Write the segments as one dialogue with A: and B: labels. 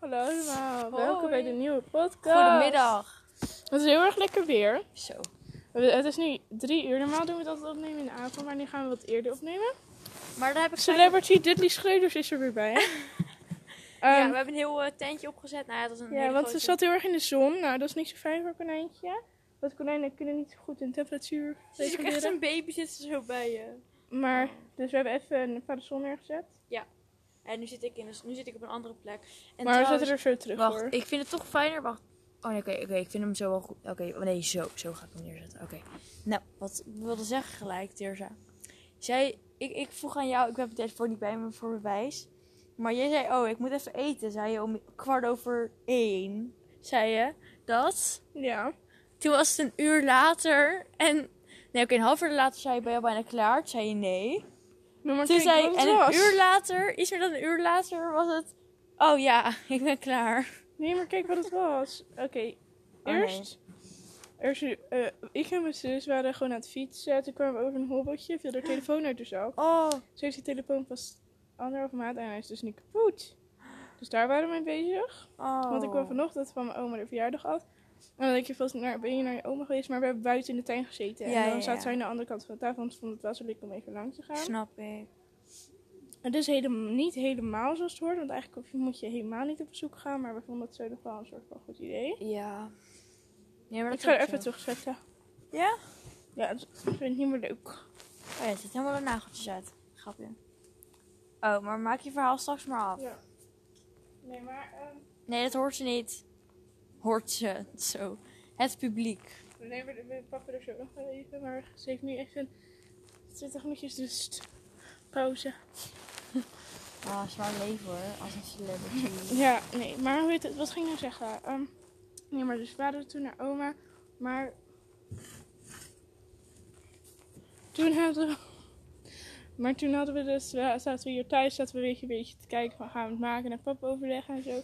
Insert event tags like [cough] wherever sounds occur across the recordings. A: Hallo allemaal,
B: Hoi.
A: welkom bij de nieuwe podcast.
B: Goedemiddag.
A: Het is heel erg lekker weer.
B: Zo.
A: We- Het is nu drie uur. Normaal doen we dat opnemen in de avond, maar nu gaan we wat eerder opnemen.
B: Maar daar heb ik gelijk-
A: Celebrity Dudley Schreuders is er weer
B: [laughs]
A: bij.
B: Ja,
A: Ehm,
B: we hebben een heel eh, tentje opgezet. Nou ja, dat is een
A: ja,
B: hele
A: want ze
B: grote-
A: zat heel erg in de zon. Nou, dat is niet zo fijn voor een konijntje. Want konijnen kunnen niet zo goed in temperatuur
B: Ze is ook echt
A: reguleren.
B: een baby zit ze zo bij je.
A: Maar, dus we hebben even een parasol neergezet.
B: En nu zit ik, in een, nu zit ik op een andere plek. En
A: maar we
B: trouwens-
A: zetten er zo terug
C: Wacht,
A: voor.
C: ik vind het toch fijner. Wacht. Oh nee, oké, oké, ik vind hem zo wel goed. Oké, oh, nee, zo, zo ga ik hem neerzetten. Oké.
B: Nou, wat ik wilde zeggen gelijk, Tirza. Zij, ik, ik vroeg aan jou, ik heb mijn telefoon niet bij me voor bewijs. Maar jij zei, oh, ik moet even eten, zei je om kwart over één. Zei je dat?
A: Ja.
B: Toen was het een uur later en... Nee, oké, een half uur later zei je, ben je al bijna klaar? Toen zei je nee.
A: Maar, maar
B: Toen
A: kijk
B: zei
A: wat het
B: en een
A: was.
B: uur later, iets meer dan een uur later, was het... Oh ja, [laughs] ik ben klaar.
A: Nee, maar kijk wat het was. Oké,
B: Oh, nee.
A: eerst. eerst eh, ik en mijn zus waren gewoon aan het fietsen. Toen kwamen we over een hobbeltje, viel haar telefoon uit de zak.
B: Oh,
A: Ze heeft die telefoon pas anderhalf maand en hij is dus nu kapot. Dus daar waren we mee bezig.
B: oh.
A: Want ik kwam vanochtend van mijn oma de verjaardag af. En dan denk je vast, naar, ben je naar je oma geweest? Maar we hebben buiten in de tuin gezeten.
B: Ja,
A: en dan
B: ja,
A: zat
B: ja.
A: zij aan de andere kant van de tafel. Want ze vond het wel zo leuk om even lang te gaan.
B: Snap ik.
A: Het is helemaal, niet helemaal zoals het hoort. Want eigenlijk moet je helemaal niet op bezoek gaan. Maar we vonden het zo nog wel een soort van goed idee.
B: Ja. Nee, maar dat
A: Ik ga
B: is
A: er
B: ook
A: even
B: zo.
A: terugzetten.
B: Ja?
A: Ja, dat vind ik niet meer leuk.
B: Oh ja, het zit helemaal de nageltjes uit. Grapje. Oh, maar maak je verhaal straks maar af.
A: Ja. Nee, maar... ehm,
B: Nee, dat hoort ze niet. Hoort ze. Zo. Het publiek.
A: we nemen we, we pakken er zo nog wel even. Maar ze heeft nu even 20 minuutjes rust. Pauze.
B: Ah, zwaar leven hoor. Als een celebrity.
A: Ja, nee. Maar hoe heet het? Wat ging ik nou zeggen? Ehm, nee, maar dus we waren toen naar oma. Maar... Toen hadden we... Maar toen hadden we dus, we- zaten we hier thuis, zaten we een beetje, een beetje te kijken van gaan we het maken en papa overleggen en zo.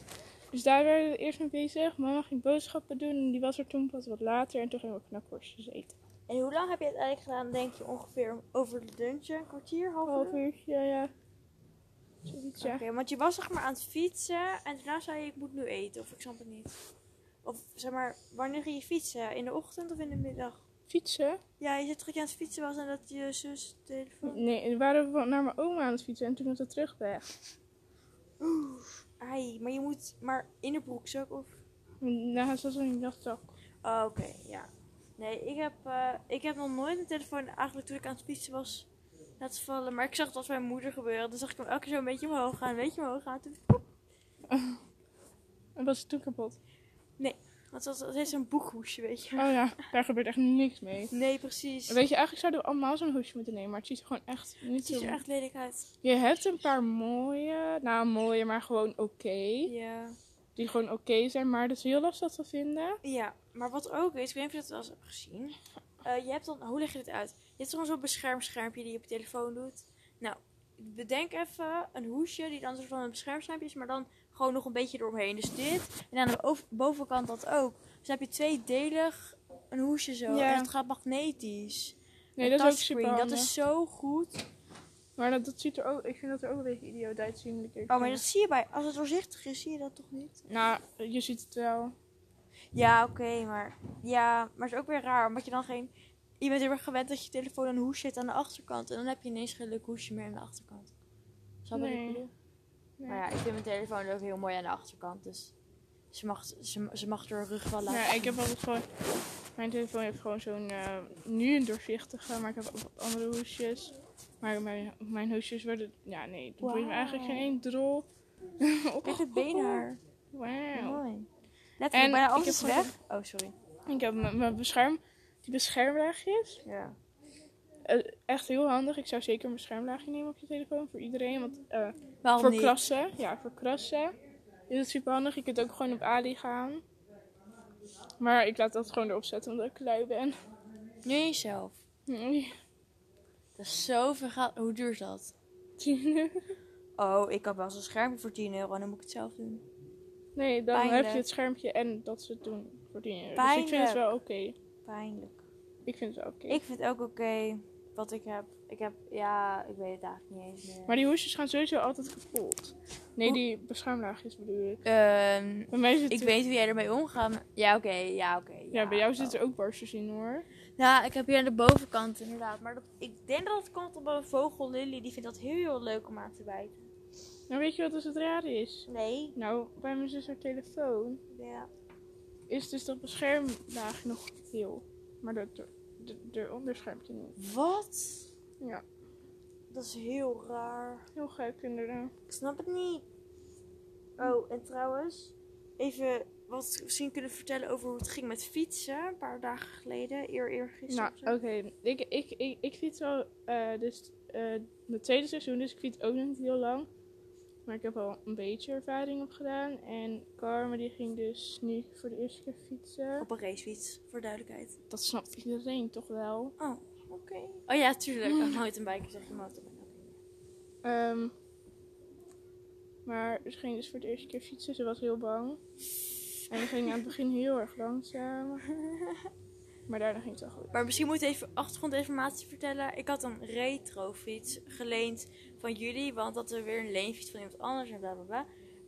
A: Dus daar werden we eerst mee bezig. Mama ging boodschappen doen en die was er toen pas wat later en toen gingen we knakworstjes eten.
B: en hoe lang heb je het eigenlijk gedaan, denk je, ongeveer over de lunch? Een kwartier, half
A: Een
B: uur?
A: half uurtje, ja, ja. Zoiets, ja.
B: Oké, want je was zeg maar aan het fietsen en daarna zei je ik moet nu eten. Of ik snap het niet. Of zeg maar, wanneer ging je fietsen? In de ochtend of in de middag?
A: Fietsen?
B: Ja, je zit terug aan het fietsen was en dat je zus telefoon...
A: Nee, we waren van- naar mijn oma aan het fietsen en toen was het terugweg.
B: Ai, maar je moet... Maar in de broekzak of...
A: Nou, ze was in dat zak.
B: Oh, Oké, ja. Nee, ik heb, eh, ik heb nog nooit mijn telefoon eigenlijk toen ik aan het fietsen was laten vallen. Maar ik zag het als mijn moeder gebeuren. Dan zag ik hem elke keer zo een beetje omhoog gaan, een beetje omhoog gaan. Toen,
A: En was het toen kapot.
B: want dat, dat is een boekhoesje, weet je.
A: Oh ja, daar gebeurt echt niks mee.
B: Nee, precies.
A: Weet je, eigenlijk zouden we allemaal zo'n hoesje moeten nemen, maar het ziet er gewoon echt niet
B: Het ziet
A: zo...
B: er echt lelijk uit.
A: Je hebt een paar mooie, nou mooie, maar gewoon oké.
B: Ja.
A: Die gewoon oké zijn, maar dat is heel lastig te vinden.
B: ja, maar wat ook is, ik weet niet of je dat wel eens hebt gezien. Eh, je hebt dan, hoe leg je dit uit? Je hebt soms zo'n beschermschermpje die je op je telefoon doet. Nou, bedenk even een hoesje die dan een soort van een beschermschermpje is, maar dan gewoon nog een beetje eromheen. Dus dit en aan de over- bovenkant dat ook. Dus dan heb je tweedelig een hoesje zo.
A: Ja.
B: En dat gaat magnetisch.
A: Nee,
B: Een
A: dat is ook
B: touchscreen,
A: super handig.
B: Dat is zo goed.
A: Maar dat, dat ziet er ook, ik vind dat er ook een beetje idioot uitzien. moet ik eerlijk
B: Oh, maar dat
A: zeggen.
B: zie je bij, als het doorzichtig is, zie je dat toch niet?
A: Nou, je ziet het wel.
B: Ja, oké, maar. Ja, maar het is ook weer raar, omdat je dan geen. Je bent heel erg gewend dat je telefoon een hoesje zit aan de achterkant. En dan heb je ineens geen leuk hoesje meer aan de achterkant. Snap je wat
A: Nee.
B: ik bedoel?
A: Nee.
B: Maar ja, ik vind mijn telefoon ook heel mooi aan de achterkant. Dus ze mag, ze, ze mag haar rug wel laten.
A: Ja, ik heb altijd gewoon. Mijn telefoon heeft gewoon zo'n. eh, nu een doorzichtige, maar ik heb ook wat andere hoesjes. Maar mijn, mijn hoesjes worden. Ja, nee, dat boeit me
B: Wauw.
A: eigenlijk geen
B: [laughs]
A: één drol.
B: Met het beenhaar.
A: Wauw.
B: Mooi.
A: Oh, En
B: Letterlijk, bijna
A: ik
B: alles
A: heb
B: is
A: gewoon-
B: weg. Oh, sorry.
A: Ik heb mijn mijn bescherm. Die beschermlaagjes.
B: Ja.
A: eh, echt heel handig. Ik zou zeker een beschermlaagje nemen op je telefoon voor iedereen. Want eh,
B: Waarom
A: voor
B: niet?
A: klassen. Ja, voor klassen. Is het super handig. Je kunt ook gewoon op Ali gaan. Maar ik laat dat gewoon erop zetten omdat ik lui ben. [laughs]
B: Nu jezelf. Dat is zoveel geld. Hoe duur is dat? Oh, ik heb wel zo'n schermpje voor 10 euro en dan moet ik het zelf doen.
A: Nee, dan heb
B: Pijnlijk.
A: je het schermpje en dat ze het doen voor die euro. Dus ik vind
B: Pijnlijk.
A: het wel oké.
B: Pijnlijk.
A: Ik vind het wel oké.
B: Ik vind ook oké wat ik heb.
D: Ik heb, ja, ik weet het eigenlijk niet eens meer.
A: Maar die hoesjes gaan sowieso altijd gepoeld. Nee, die beschermlaagjes bedoel ik.
D: Ehm,
A: Bij mij zit
D: ik
A: er-
D: weet hoe jij ermee omgaat. maar- Ja, oké, ja, oké.
A: ja, bij jou
D: oh.
A: zitten ook barstjes in hoor.
D: Nou, ik heb hier aan de bovenkant inderdaad. Maar dat,
B: Ik denk dat het komt op een vogel, Lily. Die vindt dat heel, heel leuk om aan te bijten.
A: Nou, weet je wat dus het rare is?
B: Nee.
A: Nou, bij mijn zus haar telefoon
B: Ja.
A: is dus dat beschermlaagje nog heel. Maar dat, de, eronder schermt hij niet.
B: Wat?
A: Ja,
B: Dat is heel raar.
A: heel gek inderdaad.
B: Ik snap het niet. Oh, en trouwens, even wat misschien kunnen vertellen over hoe het ging met fietsen. Een paar dagen geleden, eer eergisteren.
A: Nou,
B: of zo.
A: oké. Ik, ik, ik, ik fiets al, eh, dus eh, mijn tweede seizoen, dus ik fiets ook nog niet heel lang. Maar ik heb al een beetje ervaring op gedaan. En Carmen die ging dus nu voor de eerste keer fietsen.
B: Op een racefiets, voor duidelijkheid.
A: Dat snapt iedereen toch wel.
B: Oh, oké.
D: oh ja, tuurlijk.
B: Een mountainbiker zeg je mountainbiker.
A: Ehm, maar ze ging dus voor de eerste keer fietsen. Ze was heel bang. En we gingen aan het begin heel erg langzaam. [laughs] Maar daarna ging het wel goed.
B: Maar misschien moet ik even achtergrondinformatie vertellen. Ik had een retrofiets geleend van jullie, want dat er weer een leenfiets van iemand anders en bla bla bla.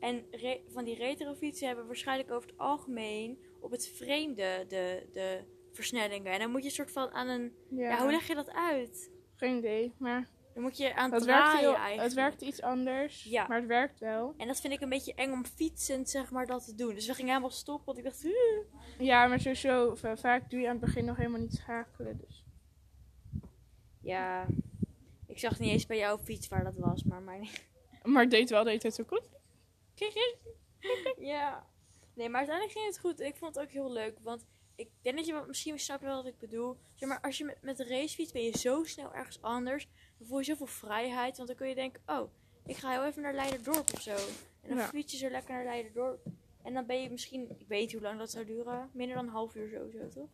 B: En re- van die retrofietsen hebben waarschijnlijk over het algemeen op het vreemde de, de versnellingen. En dan moet je soort van aan een. Ja, hoe leg je dat uit?
A: geen idee. Maar
B: Dan moet je aan het
A: het werkte,
B: draaien
A: heel,
B: eigenlijk.
A: het werkte iets anders.
B: Ja.
A: Maar het werkt wel.
B: En dat vind ik een beetje eng om fietsend zeg maar dat te doen. Dus we gingen helemaal stoppen, want ik dacht. "Huh."
A: Ja, maar sowieso, va- vaak doe je aan het begin nog helemaal niet schakelen. Dus.
B: Ja. Ik zag niet eens bij jouw fiets waar dat was, maar mijn [laughs]
A: Maar het deed wel de hele tijd zo goed.
B: Ja. Nee, maar uiteindelijk ging het goed. Ik vond het ook heel leuk. Want ik denk dat je wat- misschien snapt wel wat ik bedoel. Zeg maar, als je met, met de racefiets ben je zo snel ergens anders. Dan voel je zoveel vrijheid. Want dan kun je denken, oh, ik ga heel even naar Leiderdorp of zo. En dan
A: Ja.
B: fiets je zo lekker naar Leiderdorp. En dan ben je misschien, ik weet niet hoe lang dat zou duren. Minder dan een half uur sowieso, toch?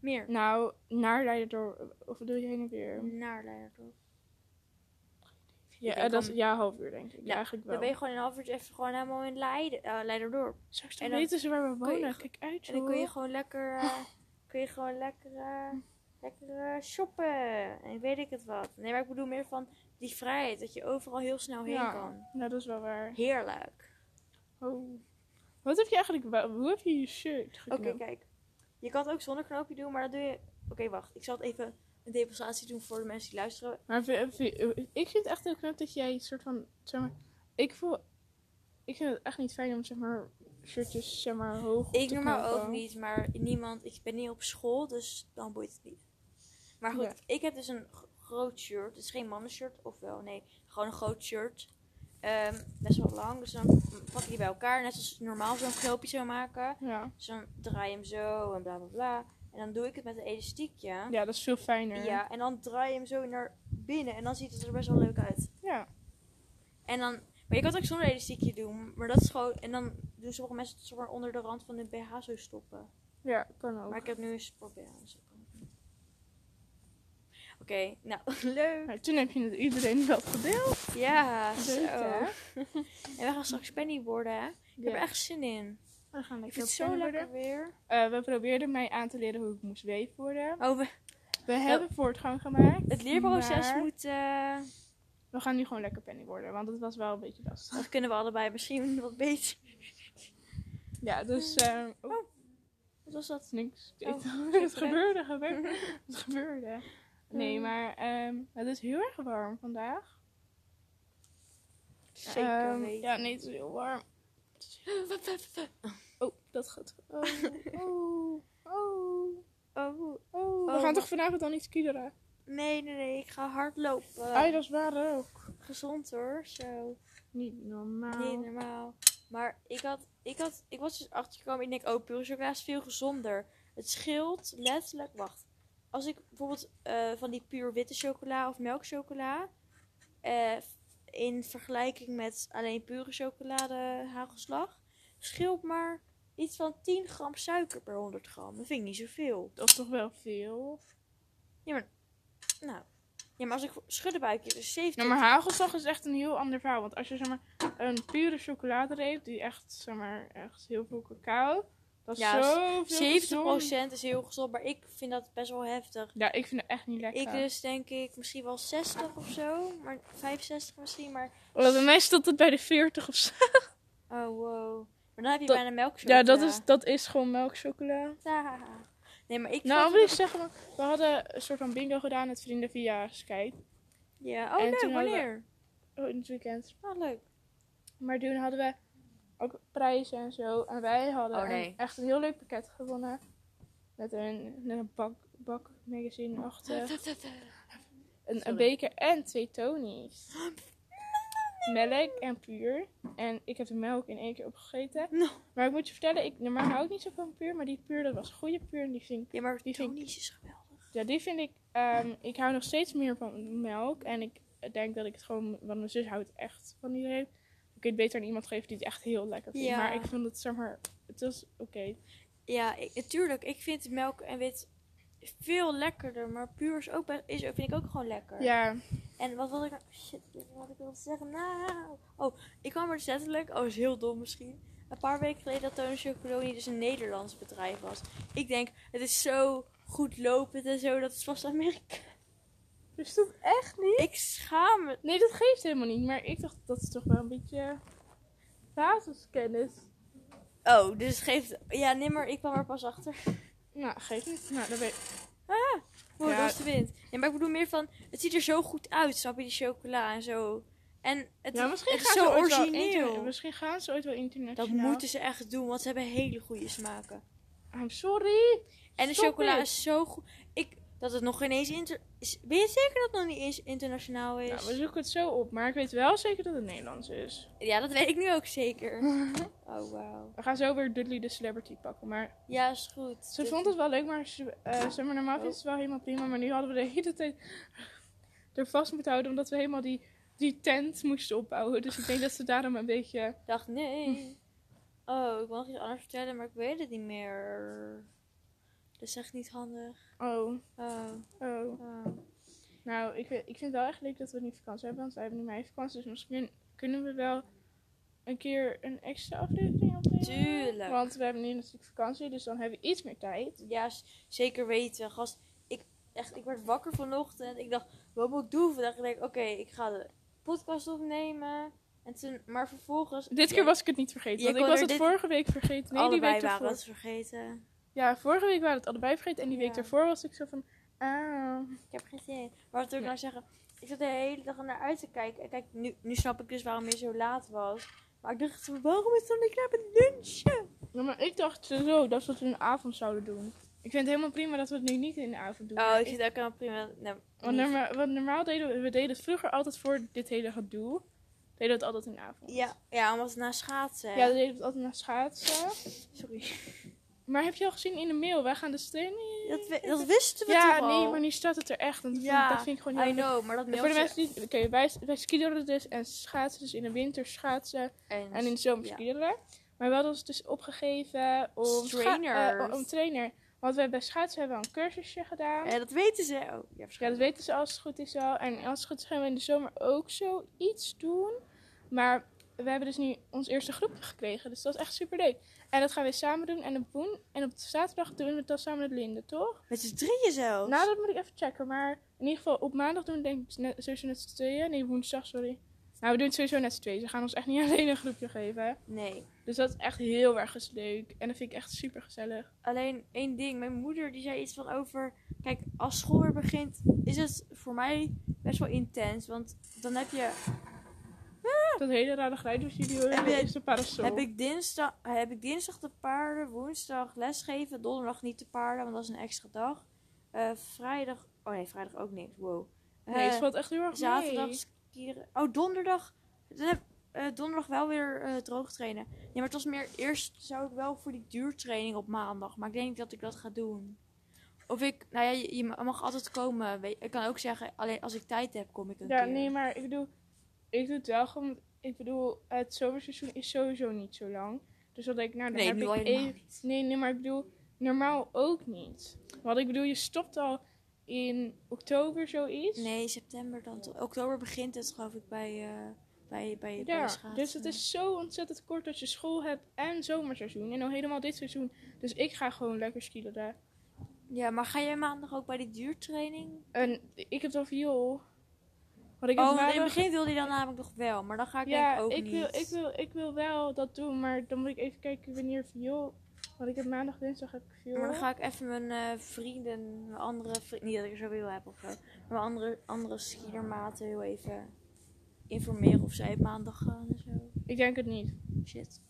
B: Meer.
A: Nou, naar Leiden door, of doe je heen en weer?
B: Naar Leiderdorp.
A: Ja,
B: denk
A: dat,
B: dan-
A: ja half uur denk ik. Ja,
B: Ja,
A: eigenlijk wel.
B: Dan ben je gewoon een half uurtje even gewoon helemaal in Leiden, eh, Leiderdorp.
A: Straks
B: en
A: dan
B: dan
A: weten ze waar we
B: kun je
A: wonen.
B: ge-
A: Kijk uit,
B: En dan kun je
A: joh.
B: gewoon lekker, [laughs] eh, kun je gewoon lekker, eh, lekker eh, shoppen. En weet ik het wat. Nee, maar ik bedoel meer van die vrijheid. Dat je overal heel snel heen
A: Ja.
B: kan.
A: Nou, dat is wel waar.
B: Heerlijk.
A: Oh. Wat heb je eigenlijk... wa- Hoe heb je je shirt
B: Oké,
A: geknoopt?
B: kijk. Je kan het ook zonder knoopje doen, maar dat doe je... Oké, wacht. Ik zal het even een demonstratie doen voor de mensen die luisteren.
A: Maar vi- vi- ik vind het echt heel knap dat jij een soort van... Zeg maar, ik voel... Ik vind het echt niet fijn om, zeg maar, shirtjes, zeg maar, hoog op
B: Ik
A: te
B: normaal
A: knopen.
B: ook niet, maar niemand... Ik ben niet op school, dus dan boeit het niet. Maar goed,
A: Ja.
B: ik heb dus een g- groot shirt. Het is geen mannenshirt, of wel? Nee, gewoon een groot shirt. Ehm, best wel lang, dus dan pak je die bij elkaar. Net als normaal zo'n knoopje zou maken.
A: Ja.
B: Dus dan draai je hem zo en bla bla bla. En dan doe ik het met een elastiekje. Ja,
A: ja, dat is veel fijner.
B: en dan draai je hem zo naar binnen. En dan ziet het er best wel leuk uit.
A: ja.
B: En dan, maar je kan het ook zonder elastiekje doen. Maar dat is gewoon, en dan doen sommige mensen het zomaar onder de rand van hun BH zo stoppen.
A: Ja, kan ook.
B: Maar ik heb nu een sport BH. dus dat kan ook niet. Oké, nou, [laughs] leuk.
A: Maar toen heb je het iedereen wel gedeeld. Dus, eh,
B: Ja, zo.
A: Leuk, hè?
B: En we gaan straks penny worden, hè? Ik heb er echt zin in.
A: We gaan
B: Ik vind het zo lekker weer.
A: Eh, we probeerden mij aan te leren hoe ik moest weef worden.
B: Oh, we-
A: We hebben voortgang gemaakt.
B: het leerproces
A: Maar-
B: moet... eh,
A: We gaan nu gewoon lekker penny worden, want het was wel een beetje lastig.
B: Dat kunnen we allebei misschien [laughs] wat beter.
A: Ja, dus... ehm, oh,
B: Wat was dat?
A: niks.
B: Oh, Eh.
A: het gebeurde, gebeurde.
B: [laughs]
A: Het gebeurde. Nee, maar ehm, het is heel erg warm vandaag.
B: Zeker
A: Ehm,
B: weten.
A: Ja, nee, het is heel
B: [gasps]
A: warm. Oh, dat gaat... Oh,
B: [laughs]
A: oh, oh.
B: Oh,
A: oh. We
B: Oh,
A: gaan
B: wat-
A: toch vanavond al niet skideren?
B: nee, nee, nee. Ik ga hardlopen.
A: Ai, dat is waar ook.
B: Gezond hoor, zo.
A: Niet normaal.
B: Niet normaal. Maar ik, had, ik, had, ik was dus achtergekomen. Ik denk, oh, pure chocola is veel gezonder. Het scheelt letterlijk... Wacht. Als ik bijvoorbeeld eh, van die puur witte chocola of melkchocola... eh, in vergelijking met alleen pure chocolade hagelslag... scheelt maar iets van 10 gram suiker per 100 gram. Dat vind ik niet zoveel.
A: Dat is toch wel veel?
B: Nou. Ja, maar als ik schudden buikje, dus 70.
A: Nou, maar hagelslag is echt een heel ander verhaal. Want als je zeg maar, een pure chocoladereep die echt, zeg maar, echt heel veel cacao... Dat is
B: Ja,
A: zoveel
B: 70%
A: gezond.
B: is heel gezond, maar ik vind dat best wel heftig.
A: Ja, ik vind het echt niet lekker.
B: Ik dus denk ik misschien wel 60 of zo, maar 65 misschien, maar
A: Oh, bij mij stond het bij de 40 of zo.
B: oh wow. Maar dan heb je
A: Dat-
B: bijna melk
A: Ja, dat is, dat is gewoon melkchocola.
B: Nee, maar ik
A: Nou,
B: vond
A: wil ik
B: het-
A: zeggen, we- we hadden een soort van bingo gedaan met vrienden via Skype.
B: Ja, oh
A: en
B: leuk,
A: toen hadden we-
B: wanneer?
A: Oh, in het weekend.
B: Oh leuk.
A: [laughs] Maar toen hadden we ook prijzen en zo. En wij hadden
E: Oh,
A: een-
E: nee.
A: echt een heel leuk pakket gewonnen. Met een, met een bak, bakmagazine-achtig. Een, een
E: Sorry.
A: beker en twee Tony's. Melk en puur. En ik heb de melk in één keer opgegeten.
E: [laughs]
B: Nou.
A: Maar ik moet je vertellen, ik normaal hou ik niet zo van puur. Maar die puur, dat was goede puur. En die vind ik...
B: Ja, maar
A: Die vind ik-
B: Tony's is dus geweldig.
A: Ja, die vind ik... ehm, ik hou nog steeds meer van melk. En ik denk dat ik het gewoon... Want mijn zus houdt echt van die reep. Ik kan het beter aan iemand geven die het echt heel lekker vindt.
B: Ja.
A: Maar ik vond het, zeg maar... Het was oké.
B: Ja, ik, natuurlijk. Ik vind melk en wit veel lekkerder, maar puur is ook, be- is, vind ik ook gewoon lekker.
A: Ja.
B: En wat wil ik nou... Shit, wat ik wilde zeggen. Nou... Oh, ik kwam er zettelijk... Oh, is heel dom misschien. Een paar weken geleden dat Tony Chocoloni dus een Nederlands bedrijf was. Ik denk, het is zo goed lopend en zo. Dat is vast Amerika.
A: Dus dat echt niet?
B: Ik schaam me.
A: Nee, dat geeft helemaal niet. Maar ik dacht, dat is toch wel een beetje... Basiskennis.
B: Oh, dus het geeft... Ja, nee, maar ik kwam er pas achter.
A: Nou, geeft niet. Nou, dan weet
B: Wow,
A: Ja.
B: dat is de wind. Nee, maar ik bedoel meer van... Het ziet er zo goed uit, snap je? Die chocola en zo. En het,
A: Ja,
B: is-
A: misschien
B: het
A: gaan
B: is
A: ze
B: zo
A: ooit wel inter-
B: origineel.
A: misschien gaan ze ooit wel internationaal.
B: Dat moeten ze echt doen, want ze hebben hele goede smaken.
A: I'm sorry.
B: En de
A: Stop
B: chocola
A: it.
B: is zo goed. Ik, dat het nog ineens inter... is- Weet je zeker dat het nog niet eens internationaal is?
A: Nou, we zoeken het zo op, maar ik weet wel zeker dat het Nederlands is.
B: Ja, dat weet ik nu ook
A: [laughs]
B: zeker. oh, wauw.
A: We gaan zo weer Dudley de Celebrity pakken. Maar
B: Ja, is goed.
A: ze
B: Dit-
A: vond het wel leuk, maar ze, eh, zeg maar, normaal vindt ze het wel helemaal prima. Maar nu hadden we de hele tijd [laughs] er vast moeten houden, omdat we helemaal die, die tent moesten opbouwen. Dus ik denk dat ze daarom een beetje...
B: Ik dacht, nee. Oh, ik wil nog iets anders vertellen, maar ik weet het niet meer. Dat is echt niet handig.
A: Oh,
B: Oh,
A: oh.
B: oh.
A: Nou, ik, weet- ik vind het wel echt leuk dat we nu vakantie hebben, want wij hebben nu mijn vakantie. Dus misschien kunnen we wel een keer een extra aflevering opnemen.
B: Tuurlijk.
A: Want we hebben nu natuurlijk vakantie, dus dan hebben we iets meer tijd.
B: Ja, s- zeker weten. Gast, ik, echt, ik werd wakker vanochtend. Ik dacht, wat moet ik doen vandaag? Ik denk, oké, ik ga de podcast opnemen. En toen, maar vervolgens...
A: Dit keer was ik het niet vergeten,
B: Je
A: want ik
B: kon
A: was
B: er
A: het
B: dit-
A: vorige week vergeten. Nee, die
B: Allebei
A: week
B: waren
A: ervoor.
B: het vergeten.
A: Ja, vorige week waren het allebei vergeten en die week
B: Ja.
A: daarvoor was ik zo van, ah.
B: Ik heb geen zin in. Maar wat wil ik
A: Nee.
B: nou zeggen? Ik zat de hele dag naar uit te kijken. En kijk, nu, nu snap ik dus waarom je zo laat was. Maar ik dacht, waarom is dan niet naar het lunchen?
A: Ja, maar ik dacht zo dat we het in de avond zouden doen. Ik vind het helemaal prima dat we het nu niet in de avond doen.
B: Oh,
A: Maar
B: ik
A: ik-
B: zit ook helemaal prima. Nou,
A: want,
B: niet.
A: norma- want normaal deden we, we deden het vroeger altijd voor dit hele gedoe. Deden we het altijd in de avond.
B: ja, ja, omdat het na schaatsen.
A: Ja, dus- dan deden we het altijd naar schaatsen.
B: Sorry.
A: Maar heb je al gezien in de mail? Wij gaan de steen
B: Dat, we- dat wisten we
A: Ja,
B: toch al?
A: nee, maar nu staat het er echt. En dat,
B: Ja, Oh,
A: vind, ik- dat vind ik gewoon heel
B: I know, maar dat
A: Voor de
B: mailtje...
A: mensen die... Oké, wij, wij skideren dus en schaatsen. Dus in de winter schaatsen en in de zomer
B: ja.
A: skideren. Maar we hadden ons dus opgegeven om... scha-
B: Trainers.
A: eh, om trainer. Want we bij schaatsen hebben we al een cursusje gedaan.
B: Ja, dat weten ze. Oh, ja,
A: Ja, dat
B: waarschijnlijk.
A: weten ze als het goed is al. En als het goed is gaan we in de zomer ook zoiets doen. Maar we hebben dus nu ons eerste groep gekregen. Dus dat is echt super leuk. En dat gaan we samen doen. En op, woen, en op zaterdag doen we dat samen met Linde, toch?
B: Met z'n drieën zelfs.
A: Nou, dat moet ik even checken. Maar in ieder geval op maandag doen we denk ik net, sowieso net z'n tweeën. Nee, woensdag, sorry. Nou, we doen het sowieso net z'n tweeën. Ze gaan ons echt niet [laughs] alleen een groepje geven.
B: Nee.
A: Dus dat is echt heel erg leuk. En dat vind ik echt super gezellig.
B: Alleen één ding. Mijn moeder die zei iets van over... Kijk, als school weer begint, is het voor mij best wel intens. Want dan heb je
A: Dat hele rare geluid dus jullie horen
B: Heb je-
A: is de parasol.
B: Heb ik, dinsdag, heb ik dinsdag de paarden, woensdag lesgeven, donderdag niet de paarden, want dat is een extra dag. Eh, vrijdag, oh nee, vrijdag ook niks, wow.
A: Nee, het
B: Eh,
A: valt echt heel erg mee.
B: zaterdag skieren. Oh, donderdag. Dan heb, eh, donderdag wel weer eh, droog trainen. Nee, maar het was meer, eerst zou ik wel voor die duurtraining op maandag, maar ik denk niet dat ik dat ga doen. Of ik, nou ja, je, je mag altijd komen. weet- ik kan ook zeggen, alleen als ik tijd heb, kom ik een
A: Ja,
B: keer.
A: nee, maar ik bedoel, ik doe het wel gewoon. want Ik bedoel, het zomerseizoen is sowieso niet zo lang. Dus dat ik, nou, dan
B: Nee,
A: heb
B: nu
A: ik
B: al helemaal
A: even- Nee, nee, maar ik bedoel, normaal ook niet. Want ik bedoel, je stopt al in oktober zoiets.
B: Nee, september dan. tot- Oktober begint het geloof ik bij eh, Bij, bij, bij de
A: Ja,
B: schaatsen.
A: dus het is zo ontzettend kort dat je school hebt en zomerseizoen. En al helemaal dit seizoen. Dus ik ga gewoon lekker skiën daar.
B: Ja, maar ga jij maandag ook bij die duurtraining?
A: En ik heb dan viool. Want ik heb
B: oh, want in het
A: maandag-
B: begin wilde je dan namelijk nog wel, maar dan ga ik
A: ja,
B: denk ook
A: ik
B: niet.
A: wil, ik, wil, ik wil wel dat doen, maar dan moet ik even kijken wanneer viool. Want ik heb maandag, dinsdag heb ik viool.
B: Maar dan ga ik even mijn eh, vrienden, mijn andere vrienden, niet dat ik er zoveel heb of zo, maar mijn andere, andere skiermaten heel even informeren of zij op maandag gaan en zo.
A: Ik denk het niet.
B: Shit.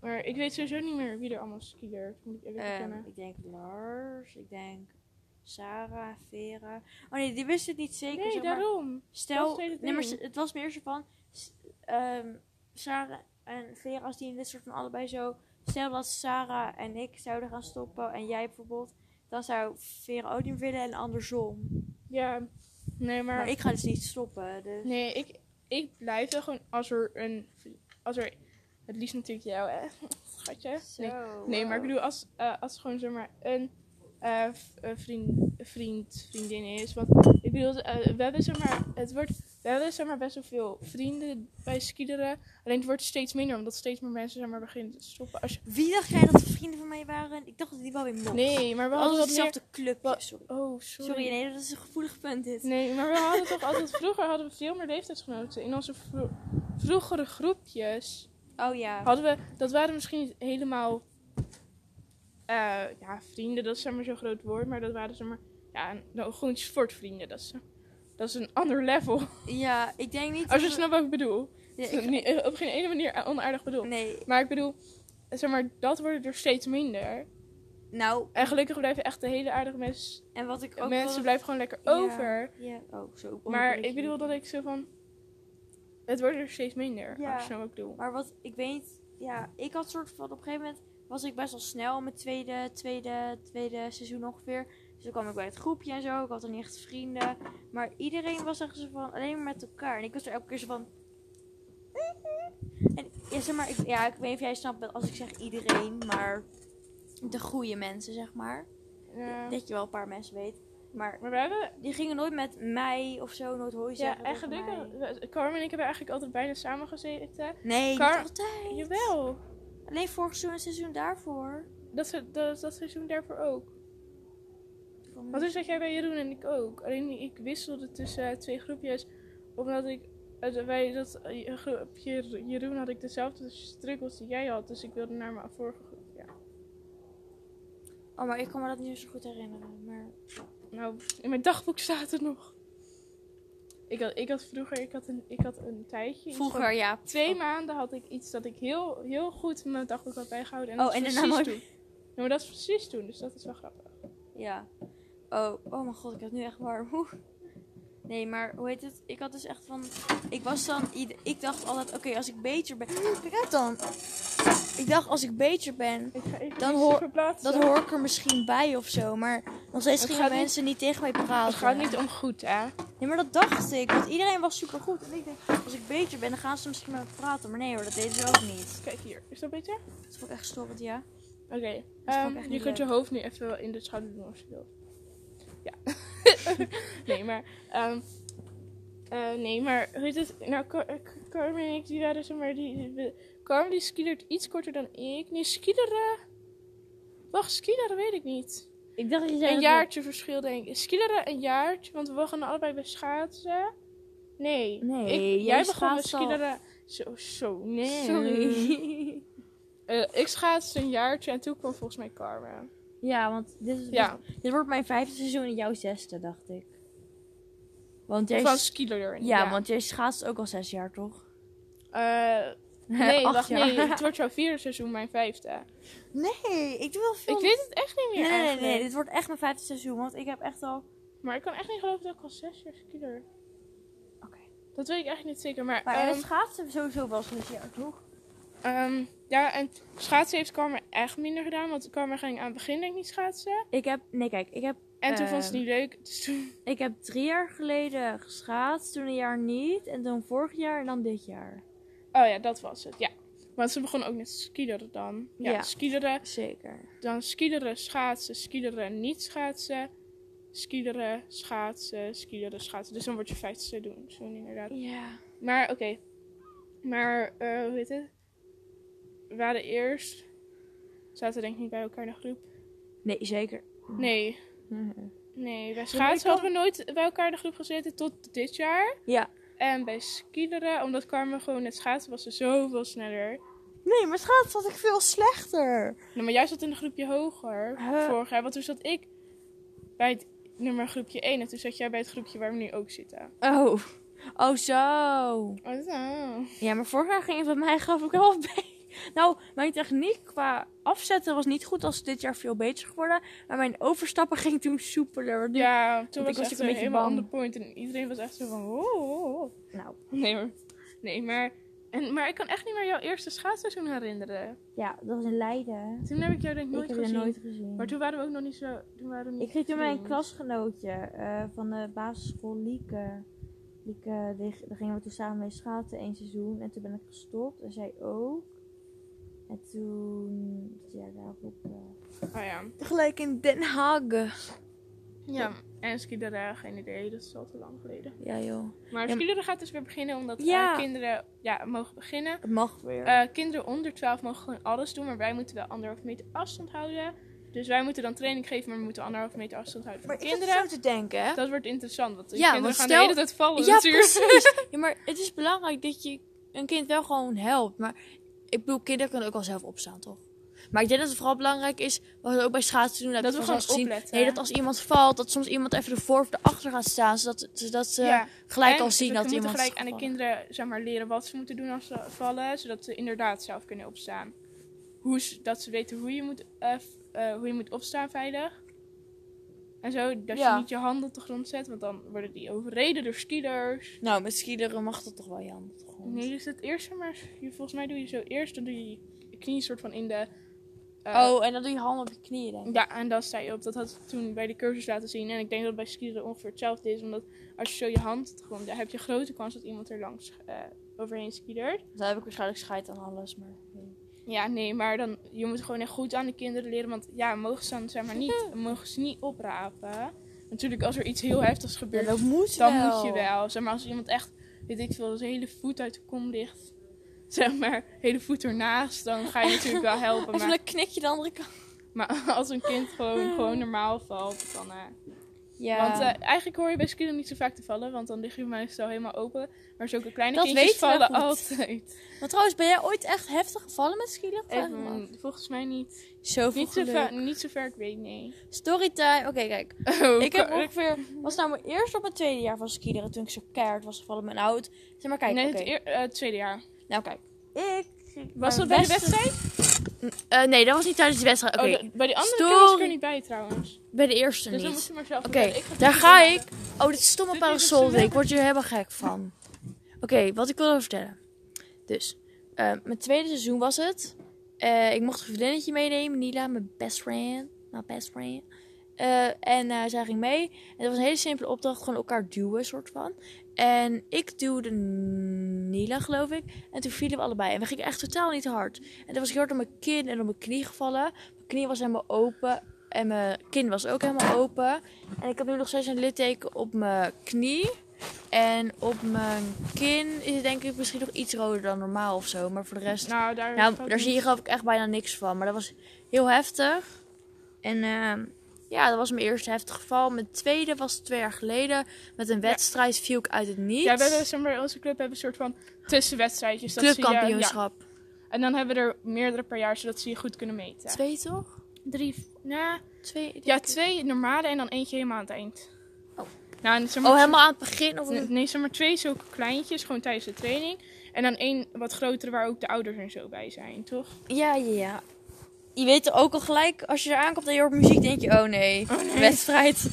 A: Maar ik weet sowieso niet meer wie er allemaal skiert. Moet ik eerlijk
B: Ehm,
A: bekennen.
B: ik denk Lars, ik denk Sarah, Vera. Oh nee, die wist het niet zeker.
A: Nee,
B: zeg maar.
A: daarom.
B: Stel,
A: Dat is het
B: nee, maar
A: ding.
B: s- het was meer zo van. s- ehm, Sarah en Vera, als die in dit soort van allebei zo. Stel dat Sarah en ik zouden gaan stoppen en jij bijvoorbeeld. Dan zou Vera ook niet willen en andersom.
A: Ja, nee, maar.
B: Maar, ik ga dus niet stoppen. Dus.
A: Nee, ik, ik blijf wel gewoon als er een. Als er, het liefst natuurlijk jou, hè? Schatje. Nee,
B: Zo,
A: nee maar ik
B: wow.
A: bedoel, als, eh, als gewoon zomaar een eh, v- eh, vriend, vriend, vriendin is. Want ik bedoel, eh, we hebben zomaar. Het wordt. We hebben zomaar best wel veel vrienden bij skiederen. Alleen het wordt steeds minder, omdat steeds meer mensen zomaar beginnen te stoppen. Als je,
B: Wie dacht jij dat de vrienden van mij waren? Ik dacht dat die wel weer mocht.
A: nee, maar we hadden
B: Altijd
A: wat meer.
B: hetzelfde clubje.
A: Wa-
B: Sorry.
A: Oh,
B: Sorry, nee, dat is een gevoelig punt dit.
A: Nee, maar we hadden toch altijd vroeger hadden we veel meer leeftijdsgenoten. In onze vro- vroegere groepjes
B: Oh ja.
A: hadden we, dat waren misschien niet helemaal eh, ja, vrienden, dat is zeg maar zo'n groot woord, maar dat waren zeg maar, ja, nou, gewoon sportvrienden. Dat is, dat is een ander level. [laughs]
B: Ja, ik denk niet.
A: Als je
B: dat we-
A: snapt wat ik bedoel.
B: Ja, ik-
A: Niet- eh, op geen ene manier onaardig bedoel.
B: Nee,
A: Maar ik bedoel, zeg maar, dat wordt er steeds minder.
B: nou,
A: En gelukkig blijven echt de hele aardige mens,
B: en wat ik ook.
A: mensen
B: wilde-
A: blijven gewoon lekker
B: Ja.
A: over.
B: Ja, oh, zo.
A: Maar
B: onderbreek je.
A: ik bedoel dat ik zo van. Het wordt er steeds minder.
B: Ja.
A: Als je nou ook bedoel.
B: Maar wat ik weet, ja, ik had soort van op een gegeven moment was ik best wel snel in mijn tweede, tweede, tweede seizoen ongeveer. Dus dan kwam ik bij het groepje en zo. Ik had dan niet echt vrienden. Maar iedereen was echt zo van alleen maar met elkaar. En ik was er elke keer zo van. "Mhm." En ja, zeg maar, ik, ja, ik weet niet of jij snapt dat als ik zeg iedereen, maar de goede mensen, zeg maar.
A: Ja.
B: Dat je wel een paar mensen weet. Maar
A: Maar we hebben.
B: die gingen nooit met mij of zo, nooit hooi zeggen.
A: Ja,
B: tegen
A: eigenlijk.
B: mij.
A: we- Carmen en ik hebben eigenlijk altijd bijna samen gezeten.
B: Nee, niet
A: Kar-
B: altijd.
A: Jawel.
B: Alleen vorig seizoen en het seizoen daarvoor.
A: Dat, se- dat, dat seizoen daarvoor ook. Want toen zat jij bij Jeroen en ik ook. Alleen ik wisselde tussen eh, twee groepjes. Omdat ik. eh, Wij, dat eh, groepje Jeroen had ik dezelfde struggles die jij had. Dus ik wilde naar mijn vorige groep. Ja.
B: Oh, maar ik kan me dat niet zo goed herinneren. Maar...
A: Nou, in mijn dagboek staat het nog. Ik had, ik had vroeger, ik had een, ik had een tijdje. iets van
F: Vroeger, ja.
A: Twee maanden had ik iets dat ik heel, heel goed in mijn dagboek had bijgehouden. En
B: Oh,
A: dat is
B: en daarna
A: precies
B: nooit-
A: toen. Ja, maar dat is precies toen, dus dat is wel grappig.
B: Ja. Oh, oh mijn god, ik heb nu echt warm. [laughs] Oeh. Nee, maar hoe heet het? Ik had dus echt van... Ik was dan... ieder- Ik dacht altijd, oké, als ik beter ben... Kijk uit dan. Ik dacht, als ik beter ben,
A: Ik ga even
B: Dan
A: iets
B: hoor-
A: verplaatsen.
B: dat hoor ik er misschien bij of zo. Maar nog steeds
A: Het
B: gingen
A: gaat niet-
B: mensen niet... tegen mij praten.
A: Het gaat niet om goed, hè?
B: Nee, maar dat dacht ik. Want iedereen was supergoed. En ik dacht, als ik beter ben, dan gaan ze misschien met me praten. Maar nee hoor, dat deden ze ook niet.
A: Kijk hier, is dat beter?
B: Dat vond ik echt storend, ja.
A: Oké,
B: vond ik
A: ehm,
B: echt
A: je
B: niet
A: kunt je
B: leuk.
A: hoofd nu even wel in de schaduw doen als je wilt.
B: [laughs]
A: Ja. nee, maar... ehm, eh, nee, maar... Hoe heet het? Nou, Car- eh, Carmen en ik, die waren zeg maar... Die, die- we- Carmen die skiedert iets korter dan ik. Nee, skiederen... Wacht, skiederen weet ik niet.
F: Ik dacht dat je zei
A: Een
F: dat we-
A: jaartje verschil, denk ik. Skiederen een jaartje, want we gaan allebei bij schaatsen. Nee.
F: Nee,
A: ik,
F: jij
A: jij begon met
F: schaatst al.
A: skiederen... Zo, zo, nee.
F: Sorry.
A: [laughs] Eh, ik schaatste een jaartje en toen kwam volgens mij Carmen.
F: [laughs] Ja, want dit, is, dus-
A: Ja,
F: dit wordt mijn vijfde seizoen en jouw zesde, dacht ik. Want jij,
A: van
F: sch-
A: skiler.
F: ja, want jij schaatst ook al zes jaar, toch? [laughs]
A: Eh, nee,
F: Acht
A: wacht,
F: jaar. [laughs]
A: nee, het wordt jouw vierde seizoen, mijn vijfde.
B: Nee, ik doe wel veel
A: Ik weet het echt niet
B: Nee,
A: meer
B: nee, nee,
A: eigenlijk.
B: nee, dit wordt echt mijn vijfde seizoen, want ik heb echt al...
A: Maar ik kan echt niet geloven dat ik al zes jaar skiler.
B: Oké.
A: Dat weet ik eigenlijk niet zeker, maar...
B: Maar ja,
A: ehm,
B: de schaatsen sowieso wel zo'n jaar, toch?
A: ehm, ja, en schaatsen heeft Carmen echt minder gedaan, want Carmen ging aan het begin denk ik niet schaatsen.
F: Ik heb, nee kijk, ik heb,
A: En toen vond ze het
F: Ehm.
A: niet leuk, dus toen...
F: ik heb drie jaar geleden geschaatst, toen een jaar niet, en dan vorig jaar en dan dit jaar.
A: Oh ja, dat was het, ja. Want ze begon ook met skileren dan. Ja,
F: Ja.
A: skileren,
F: Zeker.
A: dan skileren, schaatsen, skileren, niet schaatsen. Skileren, schaatsen, skileren, schaatsen. Dus dan wordt je vijfde seizoen, zo inderdaad.
B: Ja.
A: Maar oké. Maar, eh, hoe heet het? We waren eerst. Zaten denk ik niet bij elkaar in een groep.
B: Nee,
A: [laughs]
B: zeker.
A: Nee. Nee, bij schaatsen hadden we nooit bij elkaar in de groep gezeten tot dit jaar.
B: Ja.
A: En bij skileren, omdat Carmen gewoon net schaatsen was, ze zoveel sneller.
B: Nee, maar schaats had ik veel slechter.
A: Nou, maar jij zat in een groepje hoger
B: Huh.
A: vorig jaar. Want toen zat ik bij het nummer groepje 1. En toen zat jij bij het groepje waar we nu ook zitten.
B: Oh. Oh, zo.
A: Oh, nou.
B: Ja, maar vorig jaar ging het bij mij geloof ik wel [laughs] bij. Nou, mijn techniek qua afzetten was niet goed. Als dit jaar veel beter geworden. Maar mijn overstappen ging toen soepeler. waardoor-
A: Ja, toen
B: ik
A: was
B: was
A: het echt
B: ook
A: een
B: een beetje
A: helemaal
B: bang.
A: on the point. En iedereen was echt zo van... Oh, oh, oh.
B: Nou,
A: Nee hoor. Nee, maar... En, maar ik kan echt niet meer jouw eerste schaatsseizoen herinneren.
B: ja, dat was in Leiden.
A: Toen heb ik jou denk ik
B: ik
A: nooit
B: heb
A: gezien.
B: je nooit gezien.
A: Maar toen waren we ook nog niet zo... Toen waren we niet
B: Ik kreeg toen mijn
A: vriend.
B: klasgenootje eh, van de basisschool Lieke. Lieke, die- daar gingen we toen samen mee schaatsen één seizoen. En toen ben ik gestopt en zij ook. En toen, ja, daarop. eh
A: Oh ja.
B: Gelijk in Den Haag.
A: Ja, en skidera, geen idee. Dat is al te lang geleden.
B: Ja, joh.
A: Maar
B: Ja,
A: skidera gaat dus weer beginnen omdat eh,
B: Ja.
A: kinderen ja, mogen beginnen.
B: Het mag weer.
A: Eh, kinderen onder 12 mogen gewoon alles doen, maar wij moeten wel anderhalf meter afstand houden. Dus wij moeten dan training geven, maar we moeten anderhalf meter afstand houden van
G: Maar ik zat
A: kinderen.
G: zo te denken. hè.
A: Dat wordt interessant, want die
B: Ja,
A: kinderen
B: want
A: gaan
B: stel-
A: de hele tijd vallen
B: Ja,
A: natuurlijk.
B: precies. Ja, maar het is belangrijk dat je een kind wel gewoon helpt. Maar ik bedoel, kinderen kunnen ook wel zelf opstaan, toch? Maar ik denk dat het vooral belangrijk is, wat we ook bij schaatsen doen, dat,
A: [laughs] Dat we gewoon
B: gezien,
A: opletten.
B: Nee, dat als iemand valt, dat soms iemand even ervoor of erachter gaat staan, zodat, zodat ze
A: Ja,
B: gelijk
A: en
B: eh, al zien
A: we
B: dat
A: moeten
B: iemand
A: gelijk
B: is
A: aan de
B: gevallen.
A: kinderen zeg maar, leren wat ze moeten doen als ze vallen, zodat ze inderdaad zelf kunnen opstaan. Hoe ze- dat ze weten hoe je moet, eh, f- eh, hoe je moet opstaan veilig. En zo, dat je
B: Ja.
A: niet je handen op de grond zet, want dan worden die overreden door skieders.
B: Nou, met skiederen mag dat toch wel, Jan? op de grond.
A: Nee, dus het eerste, maar je, volgens mij doe je zo eerst, dan doe je je knie soort van in de... eh,
B: Oh, en dan doe je handen op je knieën, denk ik.
A: Ja, en dan sta je op. Dat had ik toen bij de cursus laten zien. En ik denk dat het bij skiën ongeveer hetzelfde is. Omdat als je zo je hand op de grond, dan heb je grote kans dat iemand er langs eh, overheen skiedert.
B: Daar heb ik waarschijnlijk scheid aan alles, maar...
A: Ja, nee, maar dan, je moet gewoon echt goed aan de kinderen leren. Want ja, mogen ze dan zeg maar niet, mogen ze niet oprapen. Natuurlijk, als er iets heel heftigs
B: Ja,
A: gebeurt,
B: dat moet
A: dan
B: wel.
A: moet je wel. Zeg maar als iemand echt, weet ik veel, zijn hele voet uit de kom ligt. Zeg maar, hele voet ernaast, dan ga je natuurlijk
B: [laughs]
A: wel helpen.
B: En
A: maar-
B: dan knik je de andere kant.
A: Maar [laughs] als een kind gewoon, gewoon normaal valt, dan... eh,
B: Ja.
A: Want eh, eigenlijk hoor je bij skiën niet zo vaak te vallen, want dan lig je meestal helemaal open. Maar zulke kleine
B: Dat
A: kindjes
B: weten we
A: vallen
B: goed.
A: altijd.
B: Maar trouwens, ben jij ooit echt heftig gevallen met skiën?
A: Even, volgens mij niet.
B: Zo
A: Niet zo, va- niet zo ver, ik weet nee.
B: Storytime. Oké, kijk. [laughs]
A: Oh,
B: Ik heb
A: ka-
B: ongeveer... Was nou mijn eerste of mijn tweede jaar van skiederen toen ik zo keihard was gevallen met een oud. Zeg maar, kijk.
A: nee,
B: oké.
A: het eer- eh, het tweede jaar.
B: Nou, kijk. Ik...
A: Was dat bij de wedstrijd?
B: Eh,
C: nee, dat was niet tijdens de wedstrijd. Oké,
A: Oh, de- bij die andere
C: Story.
A: keer was ik er niet bij trouwens.
C: bij de eerste
A: Dus dan moet
C: niet.
A: je maar zelf
C: Oké,
A: vertellen. Ik
C: daar
A: het
C: ga
A: niet
C: ik.
A: vertellen.
C: Oh, dit stomme
A: Dit is
C: parasol.
A: een-
C: Ik word hier helemaal gek van. Oké, wat ik wilde vertellen.
B: Dus, eh, mijn tweede seizoen was het. Eh, ik mocht een vriendinnetje meenemen, Nila, mijn best friend. Mijn best friend. Eh, en eh, zij ging mee. En dat was een hele simpele opdracht, gewoon elkaar duwen, soort van. En ik duwde Nila, geloof ik. En toen vielen we allebei. En we gingen echt totaal niet hard. En toen was ik heel hard op mijn kin en op mijn knie gevallen. Mijn knie was helemaal open. En mijn kin was ook helemaal open. En ik heb nu nog steeds een litteken op mijn knie. En op mijn kin is het denk ik misschien nog iets roder dan normaal of zo. Maar voor de rest...
A: Nou, daar,
B: Nou, daar zie je geloof ik echt bijna niks van. Maar dat was heel heftig. En ehm, ja, dat was mijn eerste heftig geval. Mijn tweede was twee jaar geleden. Met een wedstrijd viel ik uit het niets.
A: Ja, we hebben, zeg maar, onze club hebben een soort van tussenwedstrijdjes. dat zie je-
B: Clubkampioenschap.
A: ja. En dan hebben we er meerdere per jaar, zodat ze je goed kunnen meten.
B: Twee toch?
A: Drie. Nou,
B: Twee? denk
A: Ja,
B: ik.
A: twee normale en dan eentje helemaal aan het eind.
B: Oh.
A: Nou, en zeg maar,
B: Oh, helemaal aan het begin? Of...
A: Nee, nee, zeg maar twee zulke kleintjes, gewoon tijdens de training. En dan één wat grotere waar ook de ouders en zo bij zijn, toch? [laughs]
B: Ja, ja, ja. Je weet er ook al gelijk, als je er aankomt en je hoort muziek, denk je, oh nee, wedstrijd.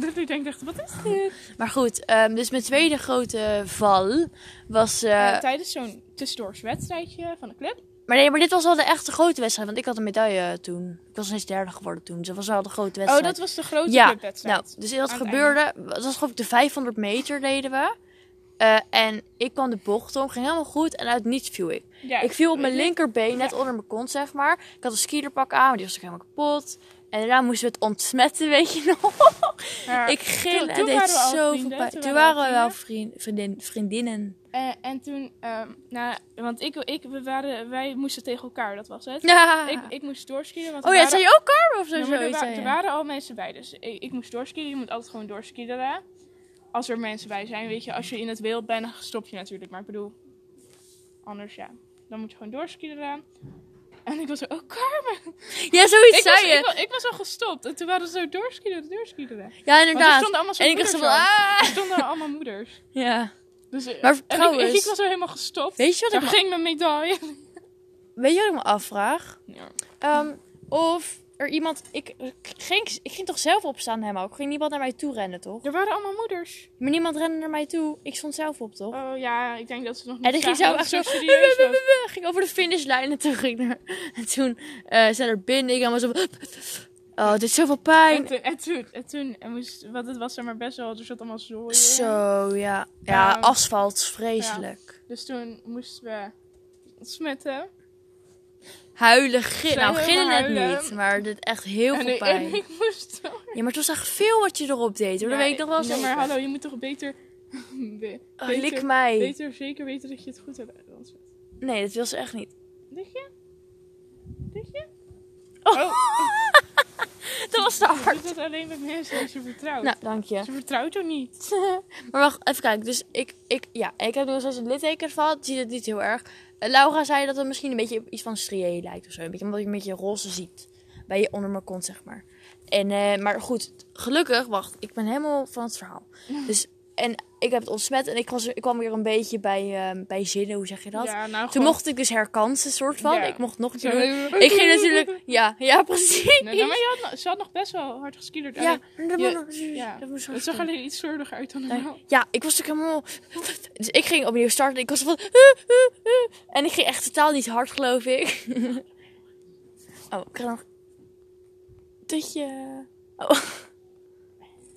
A: Dat ik denk echt, wat is dit?
B: Maar goed, ehm, dus mijn tweede grote val was... eh,
A: Eh, tijdens zo'n tussendoorswedstrijdje wedstrijdje van de club. Oh,
B: Maar nee, maar dit was wel de echte grote wedstrijd, want ik had een medaille toen. Ik was steeds derde geworden toen, dus dat was wel de grote
A: Oh,
B: wedstrijd.
A: dat was de grote
B: Ja, Nou,
A: clubwedstrijd.
B: dus dat
A: Aan het
B: gebeurde, het was geloof ik de 500 meter deden we. Eh, en ik kwam de bocht om, ging helemaal goed en uit niets viel ik.
A: ja, Mhm.
B: Ik viel op
A: weet
B: mijn
A: je?
B: linkerbeen, net onder mijn kont zeg maar. Ik had een skierpak aan, maar die was ook helemaal kapot. En daarna moesten we het ontsmetten, weet je nog.
A: Ja.
B: Ik gil
A: toen-
B: en
A: toen
B: deed
A: waren we al
B: zoveel
A: vrienden,
B: pijn.
A: toen
B: Toen
A: waren we
B: waren we
A: al
B: wel vriend, vriendin, vriendinnen.
A: Eh, en toen, ehm, nou, want ik, ik, we waren, wij moesten tegen elkaar, dat was het.
B: Ja.
A: Ik, ik moest doorskieden. Want
B: oh
A: we
B: ja,
A: waren-
B: zei je ook Carmen of zo?
A: Ja, maar er,
B: zoiets,
A: wa-
B: zei
A: er
B: je.
A: waren al mensen bij, dus ik, ik moest doorskieden. Je moet altijd gewoon doorskiederen. Als er mensen bij zijn, weet je, als je in het wild bent, dan stop je natuurlijk. Maar ik bedoel, anders ja, dan moet je gewoon doorskiederen. En ik was er, oh Carmen!
B: Ja, zoiets
A: Ik was,
B: zei je.
A: ik, wa- ik was al gestopt. En toen waren ze zo doorskiederen, doorskiederen.
B: ja,
A: Want er
B: inderdaad.
A: stonden allemaal zo'n
B: En ik dacht
A: moeders
B: zo
A: aan.
B: van, ah.
A: Er stonden allemaal moeders.
B: Ja.
A: Dus, eh,
B: Maar
A: en ik-
B: trouwens-
A: ik, was al helemaal gestopt.
B: Weet je wat
A: Daar
B: ik-
A: ging mijn medaille.
B: Weet je wat ik me afvraag?
A: Ja.
B: Ehm, of er iemand... Ik, ik ging, ik ging toch zelf opstaan hem ook? Ging niemand naar mij toe rennen, toch?
A: Er waren allemaal moeders.
B: Maar niemand rende naar mij toe. Ik stond zelf op, toch?
A: Oh ja, ik denk dat ze nog niet
B: En die ging
A: zagen
B: zo
A: dat
B: dus echt
A: het
B: zo...
A: serieus
B: [laughs]
A: was.
B: Ging over de finishlijn en toen ging er... En toen eh zei er binnen. Ik allemaal zo van... Oh, dit is zoveel
A: En
B: pijn.
A: toen, en toen, en toen en moest, want het was er maar best wel, er zat allemaal zooi in.
B: Zo, ja. Ja,
A: Ehm,
B: asfalt. Vreselijk.
A: Dus toen moesten we smetten.
B: Huilen, gillen.
A: Zij
B: Nou, gillen net
A: helemaal huilen.
B: niet. Maar dit echt heel
A: en,
B: veel
A: ik- en
B: pijn.
A: ik moest wel.
B: Ja, maar het was echt veel wat je erop deed. Hoor. Dat
A: Ja,
B: weet ik nog wel
A: ja, maar
B: zeker.
A: hallo, je moet toch beter... [laughs] be-
B: Oh,
A: beter,
B: lik mij.
A: beter zeker weten dat je het goed hebt.
B: Nee, dat wil ze echt niet.
A: Denk je? Denk je?
B: Oh.
A: Oh.
B: [laughs] Dat was te
A: Je
B: hard.
A: doet dat alleen met mensen die je vertrouwt.
B: Nou, dank je.
A: Ze vertrouwt jou niet.
B: Maar wacht, even kijken. Dus ik, ik, ja, ik heb nog eens een litteken van. Zie het niet heel erg. Eh, Laura zei dat het misschien een beetje op iets van strié lijkt of zo. Een beetje, omdat je een beetje roze ziet. Bij je onder mijn kont, zeg maar. En, eh, maar goed, gelukkig, wacht, ik ben helemaal van het [laughs] verhaal. Dus, en ik heb het ontsmet en ik, was, ik kwam weer een beetje bij, ehm bij zinnen, hoe zeg je dat?
A: Ja, nou,
B: Toen
A: gewoon-
B: mocht ik dus herkansen, soort van.
A: Ja.
B: Ik mocht nog een keer
A: Zo-
B: doen. [laughs] Ik ging natuurlijk, ja, ja, [laughs] precies.
A: [laughs] Nee, nou, maar je had, nog- ze had nog best wel hard geskiederd.
B: Ja,
A: alleen-
B: dat
A: je-
B: moet-
A: ja.
B: dat moet zo
A: Het zag alleen iets zordiger uit dan normaal.
B: Ja, ik was natuurlijk helemaal. [laughs] Dus ik ging opnieuw starten. Ik was van. En ik ging echt totaal niet hard, geloof ik. [laughs] Oh, ik had nog. Tutje. Oh.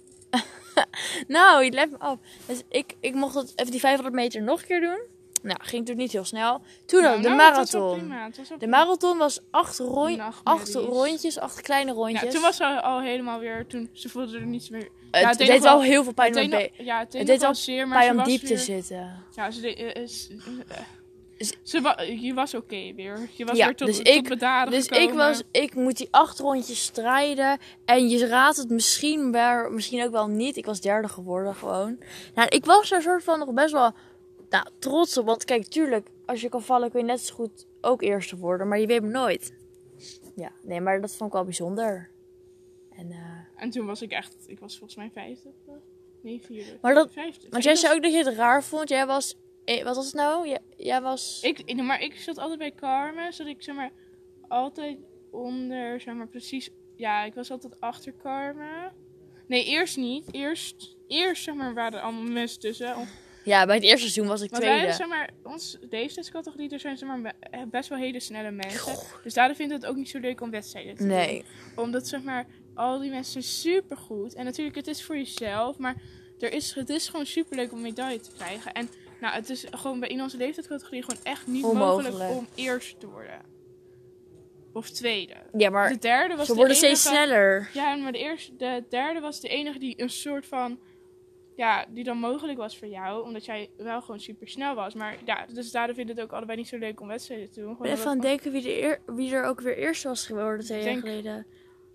B: [laughs] nou, je let me af. Dus ik, ik mocht dat, even die 500 meter nog een keer doen. Nou, ging natuurlijk niet heel snel. Toen dan
A: Nou,
B: de
A: nou, het was wel
B: marathon.
A: prima, het was wel
B: De
A: prima.
B: marathon was acht, rond,
A: Nachtmerries.
B: acht rondjes, acht kleine rondjes.
A: Ja, toen was Nou, ze al helemaal weer, toen ze voelde er niets meer.
B: het,
A: ja,
B: deed
A: nog
B: wel heel veel pijn,
A: het
B: om-
A: deed nog- Ja, het deed,
B: het
A: nog
B: deed
A: wel
B: wel
A: zeer, maar
B: pijn
A: ze
B: om
A: was eh,
B: diep te
A: weer-
B: zitten.
A: Ja, ze deed, eh, eh, ze- eh,
B: Dus-
A: ze wa- je was oké weer. Je was
B: Ja,
A: weer tot,
B: dus
A: tot
B: ik-
A: bedaren
B: Dus ik
A: gekomen.
B: was, ik moet die acht rondjes strijden. En je raadt het misschien wel, misschien ook wel niet. Ik was derde geworden gewoon. Nou, ik was daar soort van nog best wel nou, trots op. Want kijk, tuurlijk, als je kan vallen kun je net zo goed ook eerste worden. Maar je weet het nooit. Ja, nee, maar dat vond ik wel bijzonder. En, eh,
A: En toen was ik echt, ik was volgens mij vijfde. of zo. Nee, vierde.
B: Maar dat-
A: Vijfde.
B: want jij
A: Ik
B: zei
A: was-
B: ook dat je het raar vond. Jij was, eh, wat was het nou? Jij, jij was...
A: Ik, ik- maar ik zat altijd bij Carmen, zat ik zeg maar altijd onder, zeg maar precies. Ja, ik was altijd achter Carmen. Nee, eerst niet. Eerst, eerst zeg maar waren er allemaal mensen tussen. Om-
B: Ja, bij het eerste seizoen was ik
A: Want
B: tweede.
A: wij, zeg maar, ons leeftijdscategorie, daar zijn zeg maar, be- eh, best wel hele snelle mensen. Dus daardoor vindt het ook niet zo leuk om wedstrijden te doen.
B: Nee.
A: Omdat, zeg maar, al die mensen zijn supergoed. En natuurlijk, het is voor jezelf, maar er is, het is gewoon superleuk om medaille te krijgen. En nou, het is gewoon bij in onze leeftijdscategorie gewoon echt niet mogelijk
B: Onmogelijk.
A: om eerst te worden. Of tweede.
B: Ja, maar
A: de derde was
B: ze
A: de Oh,
B: worden steeds
A: enige-
B: sneller.
A: ja, maar de, eerste, de derde was de enige die een soort van. Ja, die dan mogelijk was voor jou. Omdat jij wel gewoon super snel was. Maar ja, dus daardoor vind ik het ook allebei niet zo leuk om wedstrijden te doen. Gewoon
B: Ik ben even aan
A: omdat-
B: het denken wie, de eer- wie er ook weer eerst was geworden twee jaar
A: Denk-
B: geleden.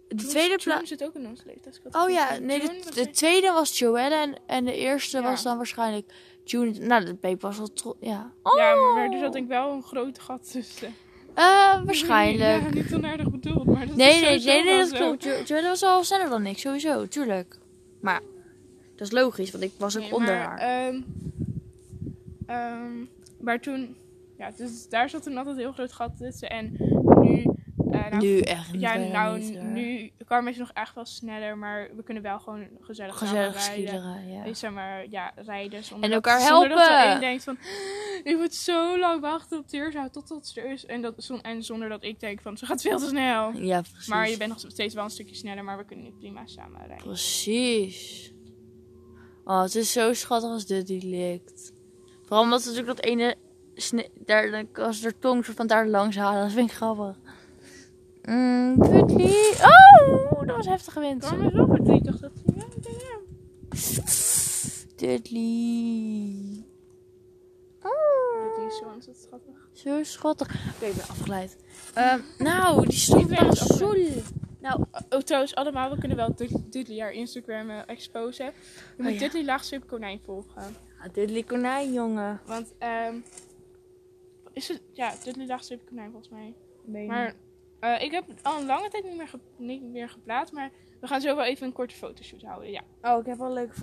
B: De
A: Toen-
B: tweede
A: toen
B: plaats.
A: zit ook in ons leeftijdscategorie.
B: Oh ja,
A: Toen-
B: nee,
A: toen
B: de,
A: was
B: de
A: hij-
B: tweede was Joelle en, en de eerste
A: Ja.
B: was dan waarschijnlijk June. Nou, dat Beep was wel trots. Ja.
A: Ja,
B: Oh!
A: maar er zat denk ik wel een groot gat tussen.
B: Eh, waarschijnlijk.
A: [laughs] Ja, niet onaardig bedoeld, maar dat
B: Nee,
A: is
B: nee,
A: sowieso
B: nee, nee, dat
A: wel zo.
B: klopt. Jo- Joelle was al sneller dan ik, sowieso, tuurlijk. Maar dat is logisch, want ik was ook
A: Nee,
B: onder
A: maar,
B: haar.
A: ehm, ehm, maar toen, ja, dus daar zat toen altijd een heel groot gat tussen. En nu, eh, nou,
B: nu echt niet.
A: Ja,
B: bijna
A: nou,
B: niet, hoor.
A: nu, Carmen is nog echt wel sneller, maar we kunnen wel gewoon gezellig,
B: Gezellig
A: samen rijden.
B: schiederen, ja.
A: Dus Zeg maar, ja, rijden zonder
B: En
A: dat-
B: elkaar
A: zonder dat de
B: helpen.
A: een denkt van, "Ah, ik moet zo lang wachten op Teerza totdat ze er is. En, dat, zon- en zonder dat ik denk van, ze gaat veel te snel.
B: Ja, precies.
A: Maar je bent nog steeds wel een stukje sneller, maar we kunnen nu prima samen rijden.
B: Precies. Oh, het is zo schattig als dit die likt. Vooral omdat ze natuurlijk dat ene... sne- daar, dan- als ze haar tong soort van daar langs halen. Dat vind ik grappig. Mm, Goodly. Oh, dat was heftige wind.
A: Waarom is wel verdrietig dat ze... Ja, ik ben er.
B: Dudley. Oh,
A: Die is zo ontzettend schattig.
B: zo schattig. Oké, ik ben afgeleid.
A: [laughs]
B: Ehm, nou, die stond
A: Iedereen
B: daar
A: is
B: zo... Nou,
A: Oh, trouwens, allemaal, we kunnen wel Dud- Dudley haar Instagram eh, exposen. Je moet
B: ja.
A: Dudley laagstreep konijn volgen.
B: Ah, Dudley konijn, jongen.
A: Want, ehm... Is het... Ja, Dudley laagstreep konijn volgens mij. Maar eh, ik heb al een lange tijd niet meer, ge- niet meer geplaatst, maar we gaan zo wel even een korte fotoshoot houden. Ja,
B: Oh, ik heb wel leuk,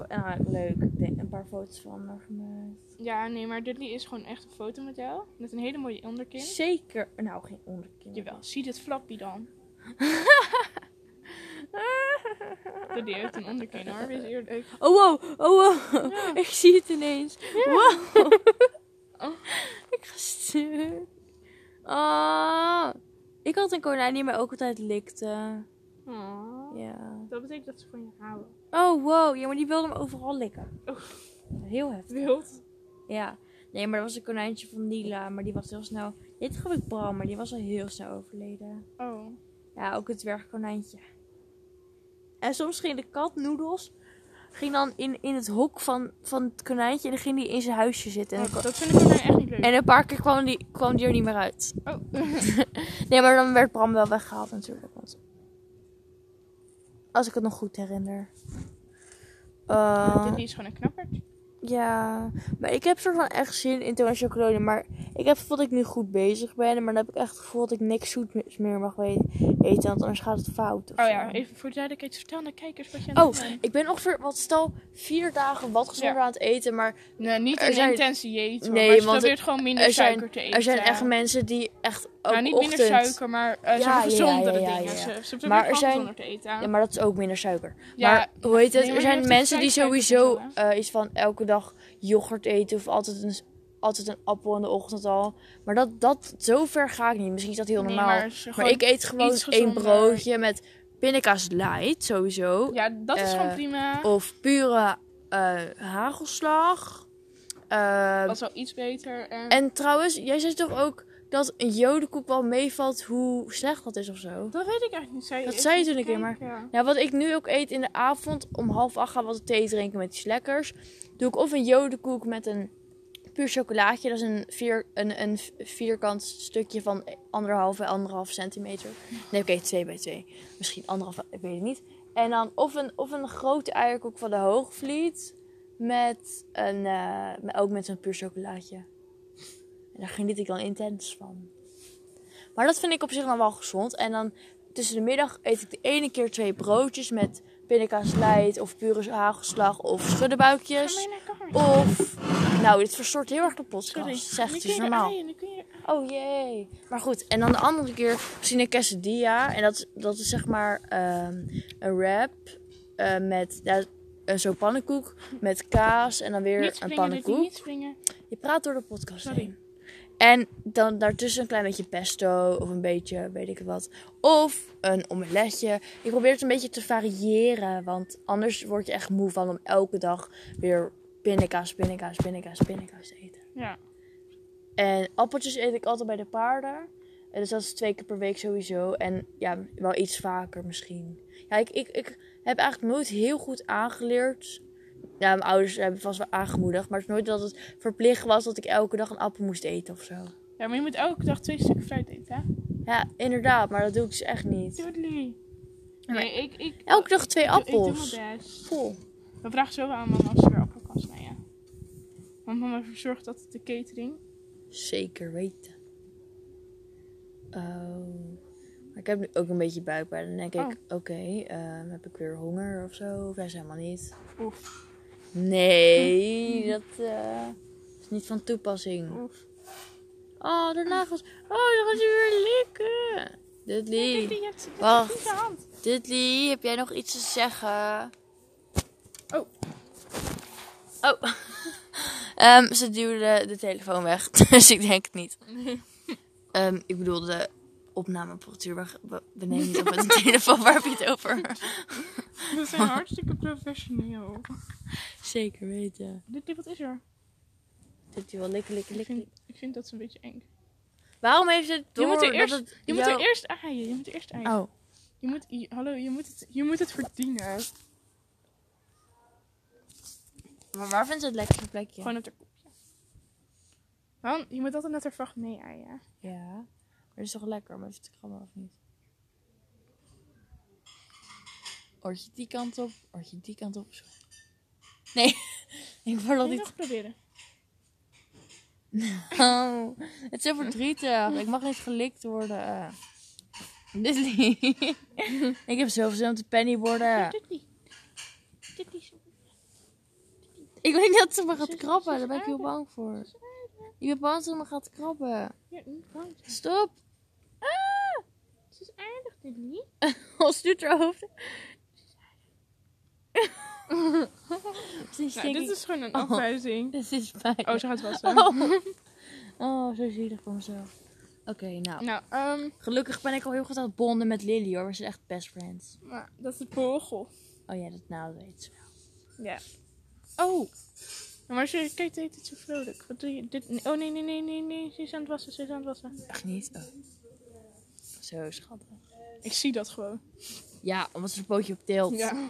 B: leuk. Ik denk een paar foto's van haar gemaakt.
A: ja nee, maar Dudley is gewoon echt een fotomodel. Met een hele mooie onderkin.
B: Zeker. Nou, geen onderkind. [laughs]
A: Jawel, zie dit flappie dan. Dudley heeft een onderkin hoor, wees eerlijk.
B: Oh, wow. Oh, wow. [laughs] Ik zie het ineens. Wow. [laughs] ik ga stuk. Oh. Ik had een konijn die mij ook altijd likte.
A: Aw.
B: Ja.
A: Oh. Dat betekent dat ze van je houden.
B: Oh, wow. Ja, maar die wilde hem overal likken.
A: Oh.
B: Heel heftig.
A: Wild.
B: Ja. Nee, maar dat was een konijntje van Nila. Maar die was heel snel... Dit gaf ik Bram, maar die was al heel snel overleden.
A: Oh.
B: Ja, ook het dwergkonijntje. En soms ging de kat, Noedels, ging dan in, in het hok van, van het konijntje en dan ging die in zijn huisje zitten. En, dan
A: Oh,
B: kwa-
A: dat vind ik konijn echt niet leuk.
B: en een paar keer kwam die, kwam die er niet meer uit.
A: Oh.
B: [laughs] Nee, maar dan werd Bram wel weggehaald natuurlijk. want- Als ik het nog goed herinner. Eh,
A: Dudley is gewoon een knappert.
B: ja, maar ik heb soort van echt zin in Toon en Chocolade. Maar ik heb het gevoel dat ik nu goed bezig ben. Maar dan heb ik echt het gevoel dat ik niks zoets meer mag we- eten. Want anders gaat het fout. of
A: Oh
B: zo.
A: ja, even voor de duidelijkheid, vertel aan de kijkers wat je aan
B: Oh,
A: het doen bent.
B: ik ben ongeveer, wat stel, vier dagen wat gezonder
A: Ja.
B: aan het eten. Maar
A: Nee, Nou, niet
B: er
A: een
B: zijn-
A: intense dieet. hoor,
B: Nee,
A: maar je
B: want
A: probeert gewoon minder
B: er zijn-
A: suiker te eten.
B: er zijn echt mensen die echt ook
A: Nou, niet
B: ochtend...
A: minder suiker, maar eh, zeg maar
B: ja,
A: gezondere
B: ja, ja,
A: dingen.
B: ja.
A: Ze, ze proberen
B: Maar er
A: gewoon
B: zijn-
A: gezonder te eten.
B: Ja, maar dat is ook minder suiker.
A: Ja,
B: maar hoe heet het?
A: nee, maar
B: er
A: je
B: zijn
A: hebt ook
B: mensen die
A: suiker-
B: sowieso
A: suiker
B: eh, iets van elke dag yoghurt eten. Of altijd een, altijd een appel in de ochtend al. Maar dat, dat, zo ver ga ik niet. Misschien is dat heel
A: Nee,
B: normaal.
A: maar
B: maar,
A: ze gewoon-
B: ik eet gewoon
A: iets
B: één
A: gezonder.
B: broodje met pindakaas light, sowieso.
A: ja, dat is gewoon
B: eh,
A: prima.
B: Of pure eh, hagelslag. Eh,
A: Dat is wel iets beter. En,
B: En trouwens, jij zei toch ook dat een jodenkoek wel meevalt hoe slecht dat is of zo?
A: dat weet ik eigenlijk niet. Zij
B: dat
A: ik
B: zei je
A: moet
B: toen een keer, maar-
A: kijken.
B: Nou, wat ik nu ook eet in de avond, om half acht gaan we wat thee drinken met iets lekkers. Doe ik of een jodenkoek met een puur chocolaatje, dat is een, vier, een, een vierkant stukje van anderhalve, anderhalf centimeter. Nee, oké, twee bij twee. Misschien anderhalf, ik weet het niet. En dan of een, of een grote eierkoek van de Hoogvliet, met een, eh, met- ook met zo'n puur chocolaatje. En daar geniet ik dan intens van. Maar dat vind ik op zich dan wel gezond. En dan tussen de middag eet ik de ene keer twee broodjes met pindakaas light of pure hagelslag of
A: Ga
B: schuddebuikjes.
A: maar naar kamer.
B: Of, nou, dit verstoort heel erg de podcast. Zeg,
A: Sorry.
B: Oh,
A: Nu
B: het
A: kun
B: is
A: je
B: normaal.
A: aaien, nu kun je-
B: Oh jee. Maar goed, en dan de andere keer Sina Quesadilla. En dat, dat is zeg maar ehm, een wrap eh, met ja, een zo'n pannenkoek met kaas en dan weer
A: Niet
B: een
A: springen, Dudley,
B: pannenkoek.
A: niet springen.
B: Je praat door de podcast
A: Sorry.
B: heen. En dan daartussen een klein beetje pesto of een beetje weet ik wat. Of een omeletje. Ik probeer het een beetje te variëren, want anders word je echt moe van om elke dag weer pindakaas, pindakaas, pindakaas, pindakaas te eten.
A: Ja.
B: En appeltjes eet ik altijd bij de paarden. En dus dat is twee keer per week sowieso. En ja, wel iets vaker misschien. Ja, ik, ik, ik heb eigenlijk nooit heel goed aangeleerd. Ja, mijn ouders hebben vast wel aangemoedigd. Maar het is nooit dat het verplicht was dat ik elke dag een appel moest eten of zo.
A: ja, maar je moet elke dag twee stukken fruit eten, hè?
B: Ja, inderdaad. Maar dat doe ik dus echt niet.
A: Dudley. Nee, ik... ik
B: Elke dag twee
A: ik- Ik
B: appels.
A: doe mijn best.
B: Vol.
A: We vragen zo wel aan mama als ze weer appelkast naar je. Want mama verzorgt dat de catering.
B: Zeker weten. Oh. Maar ik heb nu ook een beetje buikpijn. Dan denk
A: Oh.
B: ik, oké, ehm, heb ik weer honger of zo? Of juist helemaal niet.
A: Oef, Hm.
B: Nee, dat eh, is niet van toepassing.
A: oef.
B: Oh, de nagels. Oh, dan gaat hij weer likken. Dudley,
A: Dudley, je hebt je hebt
B: Wacht.
A: niet de
B: [laughs]
A: hand.
B: Dudley, heb jij nog iets te zeggen?
A: Oh.
B: Oh. [laughs] Ehm, ze duwde de telefoon weg, [laughs] dus ik denk het niet. Ehm, ik bedoel, de opnameapparatuur. weg. We we nemen niet op met een [laughs] telefoon. Waar heb je het over?
A: We zijn hartstikke professioneel.
B: Zeker weten.
A: Dudley, wat is er?
B: Dudley, wel likken, likken,
A: Ik
B: likken.
A: vind, ik vind dat ze een beetje eng.
G: Waarom heeft het door
A: Je moet er
G: dat
A: eerst-
G: het
A: Je moet er
G: jou-
A: eerst aaien. Je moet er eerst aaien.
G: Oh,
A: Je moet, je- hallo, je moet, het, je moet het verdienen.
G: maar waar vindt ze het lekkerste plekje?
A: Gewoon op de kopje. Dan, je moet altijd net haar vracht mee aaien.
G: Ja. Maar dat is toch lekker om even te krammen, of niet?
B: Oortje die kant op, oortje die kant op. Zo.
G: [laughs]
B: Nee, ik word al
A: Kan je
B: niet...
A: nog proberen?
B: Oh, het is zo verdrietig. Ik mag niet gelikt worden. eh. Dit lied.
G: [laughs] Ik heb zoveel zin om te penny worden.
A: Dit niet. Dit niet zo.
G: Ik weet niet dat ze me gaat
A: Zus,
G: krabben.
A: zus,
G: Daar ben ik heel
A: aardig.
G: bang voor. Ik ben bang dat ze me gaat krabben.
A: Ja, niet bang.
G: Stop.
A: Het mm, is aardig, dit niet.
G: Als doet haar [laughs] hoofd.
A: Nou, dit is gewoon een [laughs] afwijzing.
B: Dit is pijn.
A: Oh, ze gaat wassen.
B: [laughs] Oh, zo zielig voor mezelf. Oké, nou.
A: Nou, ehm,
B: Gelukkig ben ik al heel goed aan het bonden met Lily hoor. We zijn echt best friends.
A: nou, dat is het vogel.
B: Oh ja, dat nou dat weet ze wel.
A: Ja. Oh. Maar als je kijkt, heet het zo vrolijk. Wat doe je? Dit, oh nee, nee, nee, nee, nee. Ze is aan het wassen, ze is aan het wassen.
B: Echt niet? Oh. Zo schattig.
A: Ik zie dat gewoon.
B: Ja, omdat ze een pootje op tilt.
A: Ja.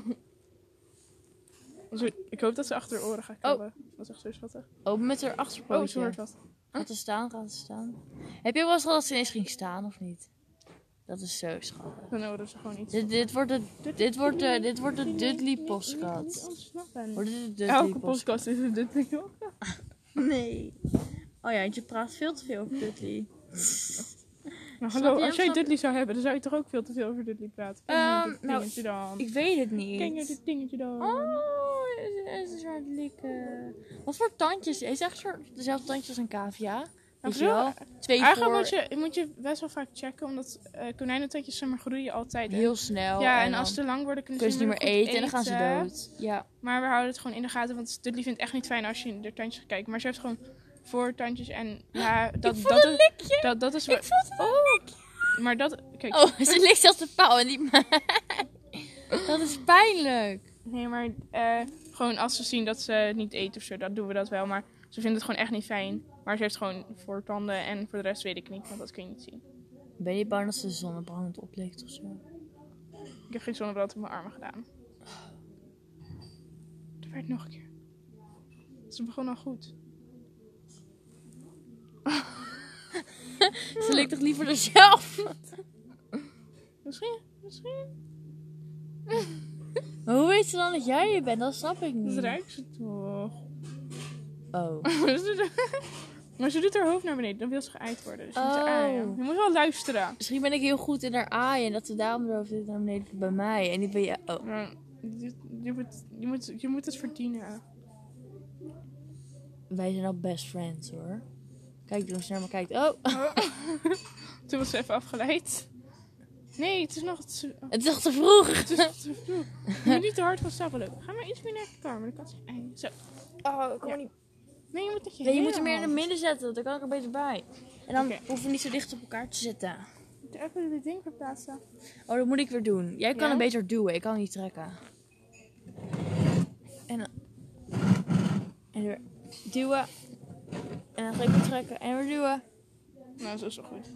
A: Zo- Ik hoop dat ze achter haar oren
G: Oh.
A: gaat krabben. Dat is echt zo schattig.
B: Open met haar
A: Oh,
B: achterpootje.
A: ze hoort wat.
B: Gaat ze staan, gaat ze staan. Heb je wel eens gehad dat ze ineens ging staan of niet? Dat is zo schattig.
A: Dan horen ze gewoon iets.
B: Dit, dit wordt de, dit wordt de, dit wordt de Dudley
A: Niet
B: postkat.
A: ontsnappen.
B: Wordt dit de Dudley
A: Elke
B: postkat?
A: podcast is een dit ding ook.
G: Nee. Oh ja, want je praat veel te veel over Dudley.
A: Maar
G: Snap
A: Nou, hallo,
G: je?
A: als jij
G: Snap je?
A: Dudley zou hebben, dan zou je toch ook veel te veel over Dudley praten? Ken je
G: Ehm,
A: dit
G: nou,
A: dingetje dan.
G: Ik weet het niet.
A: Ken je dit dingetje dan?
G: Oh, is is hard likken. Wat voor tandjes? Hij is echt soort dezelfde tandjes als een cavia. Weet je
A: zo.
G: wel? Twee
A: Eigenlijk
G: voor,
A: moet je, moet je best wel vaak checken, omdat eh konijnentandjes zeg maar groeien altijd. hè?
B: Heel snel.
A: ja, en
B: dan
A: als ze te lang worden, kunnen
B: kunnen
A: ze
B: ze niet meer eten, en dan gaan ze
A: eten.
B: dood. Ja.
A: Maar we houden het gewoon in de gaten, want Dudley vindt het echt niet fijn als je in de tandjes gaat kijken. Maar ze heeft gewoon voortandjes en ja, dat, dat, is- dat, dat is... Ik Maar dat... Kijk,
B: Oh, ze ligt zelfs de pauw en die Dat is pijnlijk.
A: nee, maar eh, gewoon als ze zien dat ze niet eet of zo, dan doen we dat wel. Maar ze vindt het gewoon echt niet fijn. Maar ze heeft gewoon voortanden en voor de rest weet ik niet, want dat kun je niet zien.
B: Ben je bang dat ze de zonnebrand oplikt of zo?
A: Ik heb geen zonnebrand op mijn armen gedaan. Dat werd nog een keer. Ze begon al goed.
B: Ze ligt toch liever zelf?
A: Misschien, misschien.
B: Hoe weet ze dan dat jij je bent? Dat snap ik
A: Dat
B: niet.
A: ruikt ze toch.
B: Oh.
A: [laughs] maar ze doet haar hoofd naar beneden, dan wil ze geëid worden. Dus je moet haar
B: Oh.
A: aaien. Je moet wel luisteren.
B: Misschien ben ik heel goed in haar aaien en dat ze daarom erover zit naar beneden bij mij. En niet bij jou. Oh.
A: Maar Je, je, moet, je, moet, je moet het verdienen.
B: Wij zijn al best friends hoor. Kijk, toen ze naar me kijkt. Oh, [laughs]
A: Toen was ze even afgeleid. Nee, het is nog te, oh,
B: het is nog te vroeg.
A: het is nog te vroeg. Je moet niet te hard gaan stappen. Ga maar iets meer naar de kamer, dan kan ze eieren. Zo.
G: Oh, ik kom
A: Ja.
G: er niet.
A: Nee, je moet dat
B: [laughs]
A: je
B: Nee, je moet
A: hele
B: er meer in
A: hand-
B: het midden zetten. Daar kan ik er beter bij. En dan
A: Oké.
B: hoeven we niet zo dicht op elkaar te zitten.
A: Even dit ding verplaatsen.
B: Oh, dat moet ik weer doen. Jij kan
A: Ja?
B: het beter duwen. Ik kan niet trekken. En dan... En weer duwen. En dan ga ik weer trekken. En weer duwen.
A: Nou, zo is wel goed.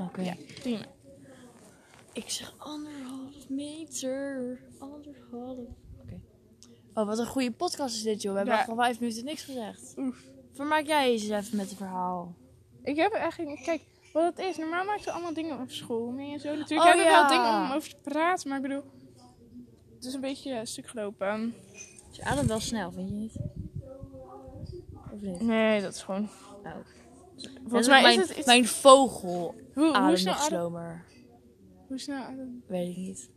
B: Oké.
A: Prima.
B: Ik zeg anderhalf meter. Anderhalf. Oké. Oh, wat een goede podcast is dit, joh. We hebben
A: Ja.
B: echt al vijf minuten niks gezegd.
A: Oef.
B: Vermaak jij eens even met het verhaal.
A: Ik heb eigenlijk... Kijk, wat het is. Normaal maken ze allemaal dingen op school mee en zo. Natuurlijk
B: Oh,
A: hebben we wel
B: ja.
A: dingen om over te praten. Maar ik bedoel... Het is een beetje eh, stuk gelopen.
B: Ze ademt wel snel, vind je niet? Of niet?
A: Nee, dat is gewoon...
B: Oh.
A: Nou, Volgens
B: Dat
A: mij
B: mijn,
A: is het... Iets,
B: mijn vogel
A: hoe, hoe,
B: ademt
A: snel
B: nog
A: adem,
B: slomer.
A: hoe snel adem...
B: Weet ik niet.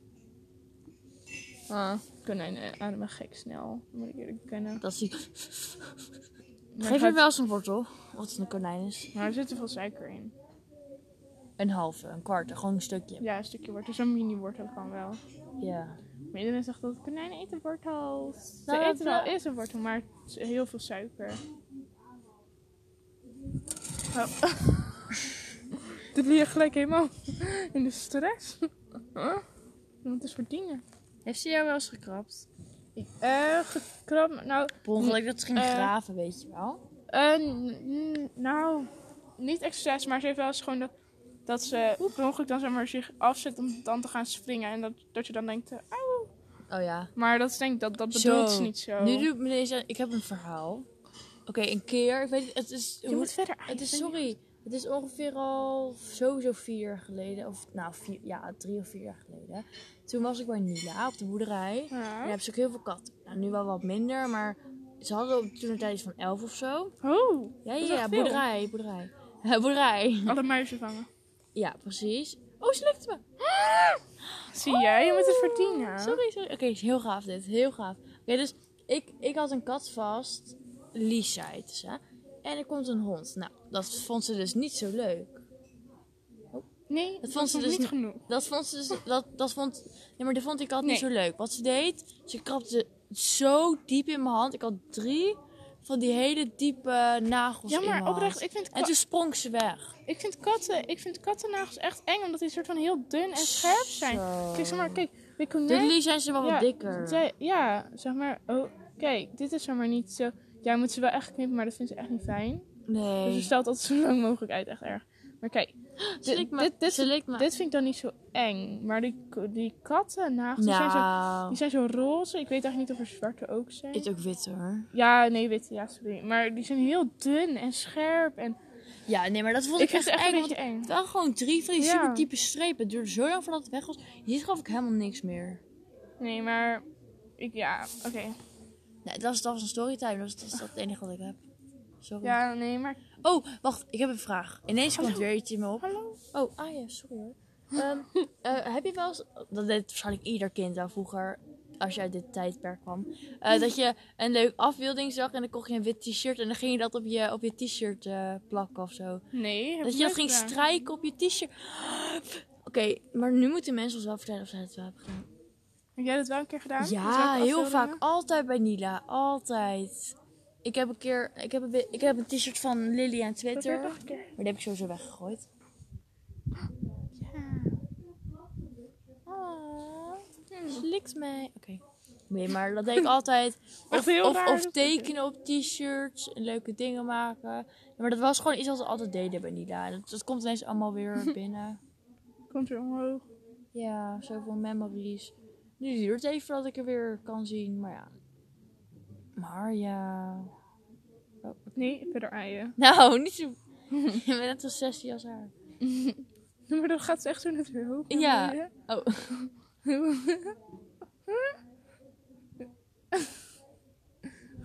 A: Ah, konijnen ademen gek snel. Moet ik eerlijk bekennen.
B: Dat zie
A: Maar,
B: Geef
A: gaat-
B: er wel eens een wortel. Wat een konijn is.
A: maar er zit te veel suiker in.
B: Een halve, een kwart, gewoon een stukje.
A: Ja, een stukje wortel. Zo'n mini-wortel kan wel.
B: Ja.
A: Maar iedereen zegt dat konijnen eten wortels. Ze
B: Nou, dat
A: eten wel
B: wel.
A: eens een wortel, maar het is heel veel suiker. Oh. [laughs] Dit ligt gelijk helemaal in de stress. Je moet het verdienen.
B: Heeft ze jou wel eens gekrapt?
A: Ik, eh, gekram, nou,
B: Per ongeluk dat ze ging
A: Eh.
B: graven, weet je wel.
A: eh, n- n- nou, niet exercise, maar ze heeft wel eens gewoon dat, dat ze per ongeluk dan zeg maar zich afzet om dan te gaan springen. En dat, dat je dan denkt, eh, ah.
B: Oh ja.
A: maar dat is denk ik, dat, dat
B: Zo.
A: bedoelt ze niet zo.
B: Nu doe ik me deze... Ik heb een verhaal. Oké, een keer. Ik weet niet, het is...
A: je
B: hoe-
A: moet verder
B: Het is, sorry, het is ongeveer al sowieso vier jaar geleden. Of nou, vier, ja, drie of vier jaar geleden. Toen was ik bij Nila op de boerderij. En daar
A: Ja.
B: hebben ze ook heel veel katten. Nou, nu wel wat minder, maar ze hadden op- toen een tijdje van elf of zo.
A: Oh,
B: Ja,
A: Dat
B: ja,
A: is
B: ja,
A: echt veel.
B: boerderij, boerderij. [laughs] Ja, boerderij.
A: alle muizen vangen.
B: Ja, precies. Oh, ze lukt me.
A: Zie jij, je moet het verdienen.
B: Sorry, sorry. Oké, is heel gaaf dit. Heel gaaf. Oké, dus ik, ik had een kat vast. Lisa heette ze. En er komt een hond. Nou, dat vond ze dus niet zo leuk.
A: Nee, dat
B: vond
A: vond
B: ze
A: ze
B: dus
A: niet
B: niet-
A: genoeg.
B: Dat vond ze dus, dat, dat vond, nee, maar dat vond ik altijd niet zo leuk. Wat ze deed, ze krabde zo diep in mijn hand. Ik had drie van die hele diepe nagels
A: Ja,
B: in mijn
A: maar oprecht,
B: hand.
A: ik vind,
B: En toen sprong ze weg.
A: ik vind katten, ik vind kattennagels echt eng, omdat die soort van heel dun en scherp zijn.
B: Zo.
A: Kijk, zeg maar, kijk, de
B: Door
A: konijn...
B: Jullie zijn ze wel
A: Ja,
B: wat dikker.
A: Zij- ja, zeg maar, oh, kijk, dit is zeg maar niet zo... Ja, moet ze wel echt knippen, maar dat vindt ze echt niet fijn. Dus ze
B: Nee.
A: stelt altijd zo lang mogelijk uit, echt erg. Maar kijk,
B: Ze likt me.
A: dit- dit-
B: ze likt me.
A: dit vind ik dan niet zo eng. Maar die, die kattennagels, die, zijn zo,
B: nou,
A: die zijn zo roze. Ik weet eigenlijk niet of er zwarte ook zijn.
B: is ook wit hoor.
A: Ja, nee, witte, ja, sorry. Maar die zijn heel dun en scherp. En
B: Ja, nee, maar dat vond ik,
A: ik vind
B: echt
A: ze
B: eng.
A: echt een
B: want
A: beetje eng.
B: het waren gewoon drie van die
A: Ja.
B: super diepe strepen. Het duurde zo lang voordat het weg was. Hier gaf ik helemaal niks meer.
A: Nee, maar ik, ja, oké.
B: Nee, dat was, dat was een storytime. Dat was, dat is het enige wat ik heb. Sorry.
A: Ja, nee, maar
B: Oh, wacht, ik heb een vraag. Ineens komt weer iets in me op.
A: hallo.
B: Oh, ah ja, sorry hoor. Ehm, [laughs] eh, heb je wel eens, dat deed waarschijnlijk ieder kind al vroeger, als je uit dit tijdperk kwam, eh, dat je een leuk afbeelding zag en dan kocht je een wit t-shirt en dan ging je dat op je, op je t-shirt eh, plakken of zo.
A: Nee, heb
B: Dat
A: ik
B: je dat ging
A: nooit gedaan.
B: strijken op je t-shirt. Oké, maar nu moeten mensen ons wel vertellen of zij het wel hebben gedaan.
A: Heb jij dat wel een keer gedaan?
B: Ja,
A: Zulke
B: heel vaak.
A: afbeeldingen?
B: Altijd bij Nila. Altijd. Ik heb een keer, ik heb een, wi- ik heb een t-shirt van Lily aan
A: Probeer
B: Twitter.
A: nog een keer.
B: Maar die heb ik sowieso weggegooid. Ja. Ah, slikt mij. Oké. Nee, maar dat deed ik altijd.
A: Echt
B: Of,
A: heel
B: of,
A: raar,
B: of
A: dat
B: tekenen op t-shirts, en leuke dingen maken. Ja, maar dat was gewoon iets wat we altijd deden bij Nila. Dat, dat komt ineens allemaal [laughs] weer binnen.
A: Komt weer omhoog.
B: Ja, zoveel memories. Nu duurt het even voordat ik er weer kan zien, maar ja. Maar ja. [laughs]
A: Nee, verder aaien.
B: Nou, niet zo. [laughs] Je bent net als 16 als haar.
A: [laughs] Maar dan gaat ze echt zo naar de hoog. naar
B: Ja.
A: beneden.
B: Oh. [laughs]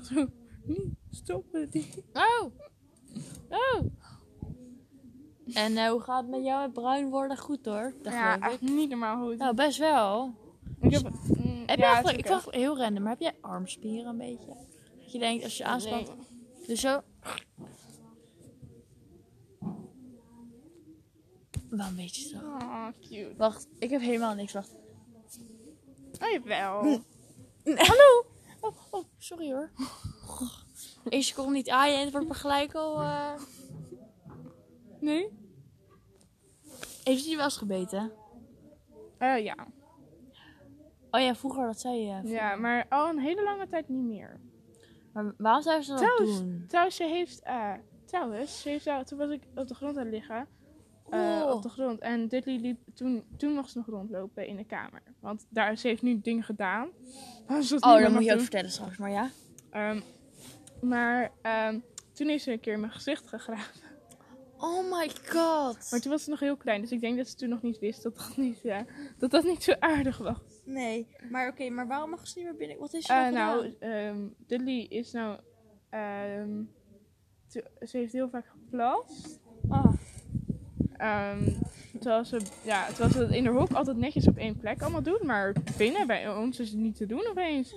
A: zo, [laughs] niet stoppen. Die.
B: Oh! Oh! En eh, hoe gaat het met jou en bruin worden? Goed hoor. Dat
A: Ja,
B: geloof ik.
A: echt niet normaal goed.
B: Nou, best wel.
A: Ik heb, mm,
B: Heb
A: ja,
B: je
A: het
B: eigenlijk,
A: is
B: ik
A: oké.
B: vraag heel random, maar heb jij armspieren een beetje? Dat je denkt als je aanspant. Dus zo. Wel een beetje zo.
A: Oh, cute.
B: Wacht, ik heb helemaal niks. Wacht.
A: Oh, jawel.
B: [laughs] Hallo! Oh, oh, sorry hoor. [laughs] Eén seconde niet aaien en het wordt me gelijk al. eh,
A: Nee?
B: Heeft hij wel eens gebeten?
A: Eh, ja.
B: Oh ja, vroeger, eh, dat zei je.
A: ja, maar al een hele lange tijd niet meer.
B: Maar waarom zouden ze dat
A: Trouwens-
B: doen?
A: Trouwens, ze heeft, eh, trouwens, ze heeft, al- toen was ik op de grond aan het liggen. eh,
B: Oh.
A: Op de grond. En Dudley liep, toen, toen mocht ze nog rondlopen in de kamer. Want daar, ze heeft nu dingen gedaan. [laughs] Dus dat
B: Oh,
A: niet
B: dat
A: meer
B: moet je ook
A: mag
B: vertellen straks, maar ja.
A: doen. Ehm, maar ehm, toen heeft ze een keer in mijn gezicht gegraven. [laughs]
B: Oh my god.
A: Maar toen was ze nog heel klein. Dus ik denk dat ze toen nog niet wist dat dat niet, ja, dat dat niet zo aardig was.
H: Nee, maar oké, maar waarom mag ze niet meer binnen? Wat is
A: Eh, nou, ehm Dudley is nou... ehm, ze- ze heeft heel vaak geplast.
B: Oh.
H: Ah.
A: Ehm, terwijl, ze, ja, terwijl ze dat in haar hok altijd netjes op één plek allemaal doet. Maar binnen bij ons is het niet te doen opeens.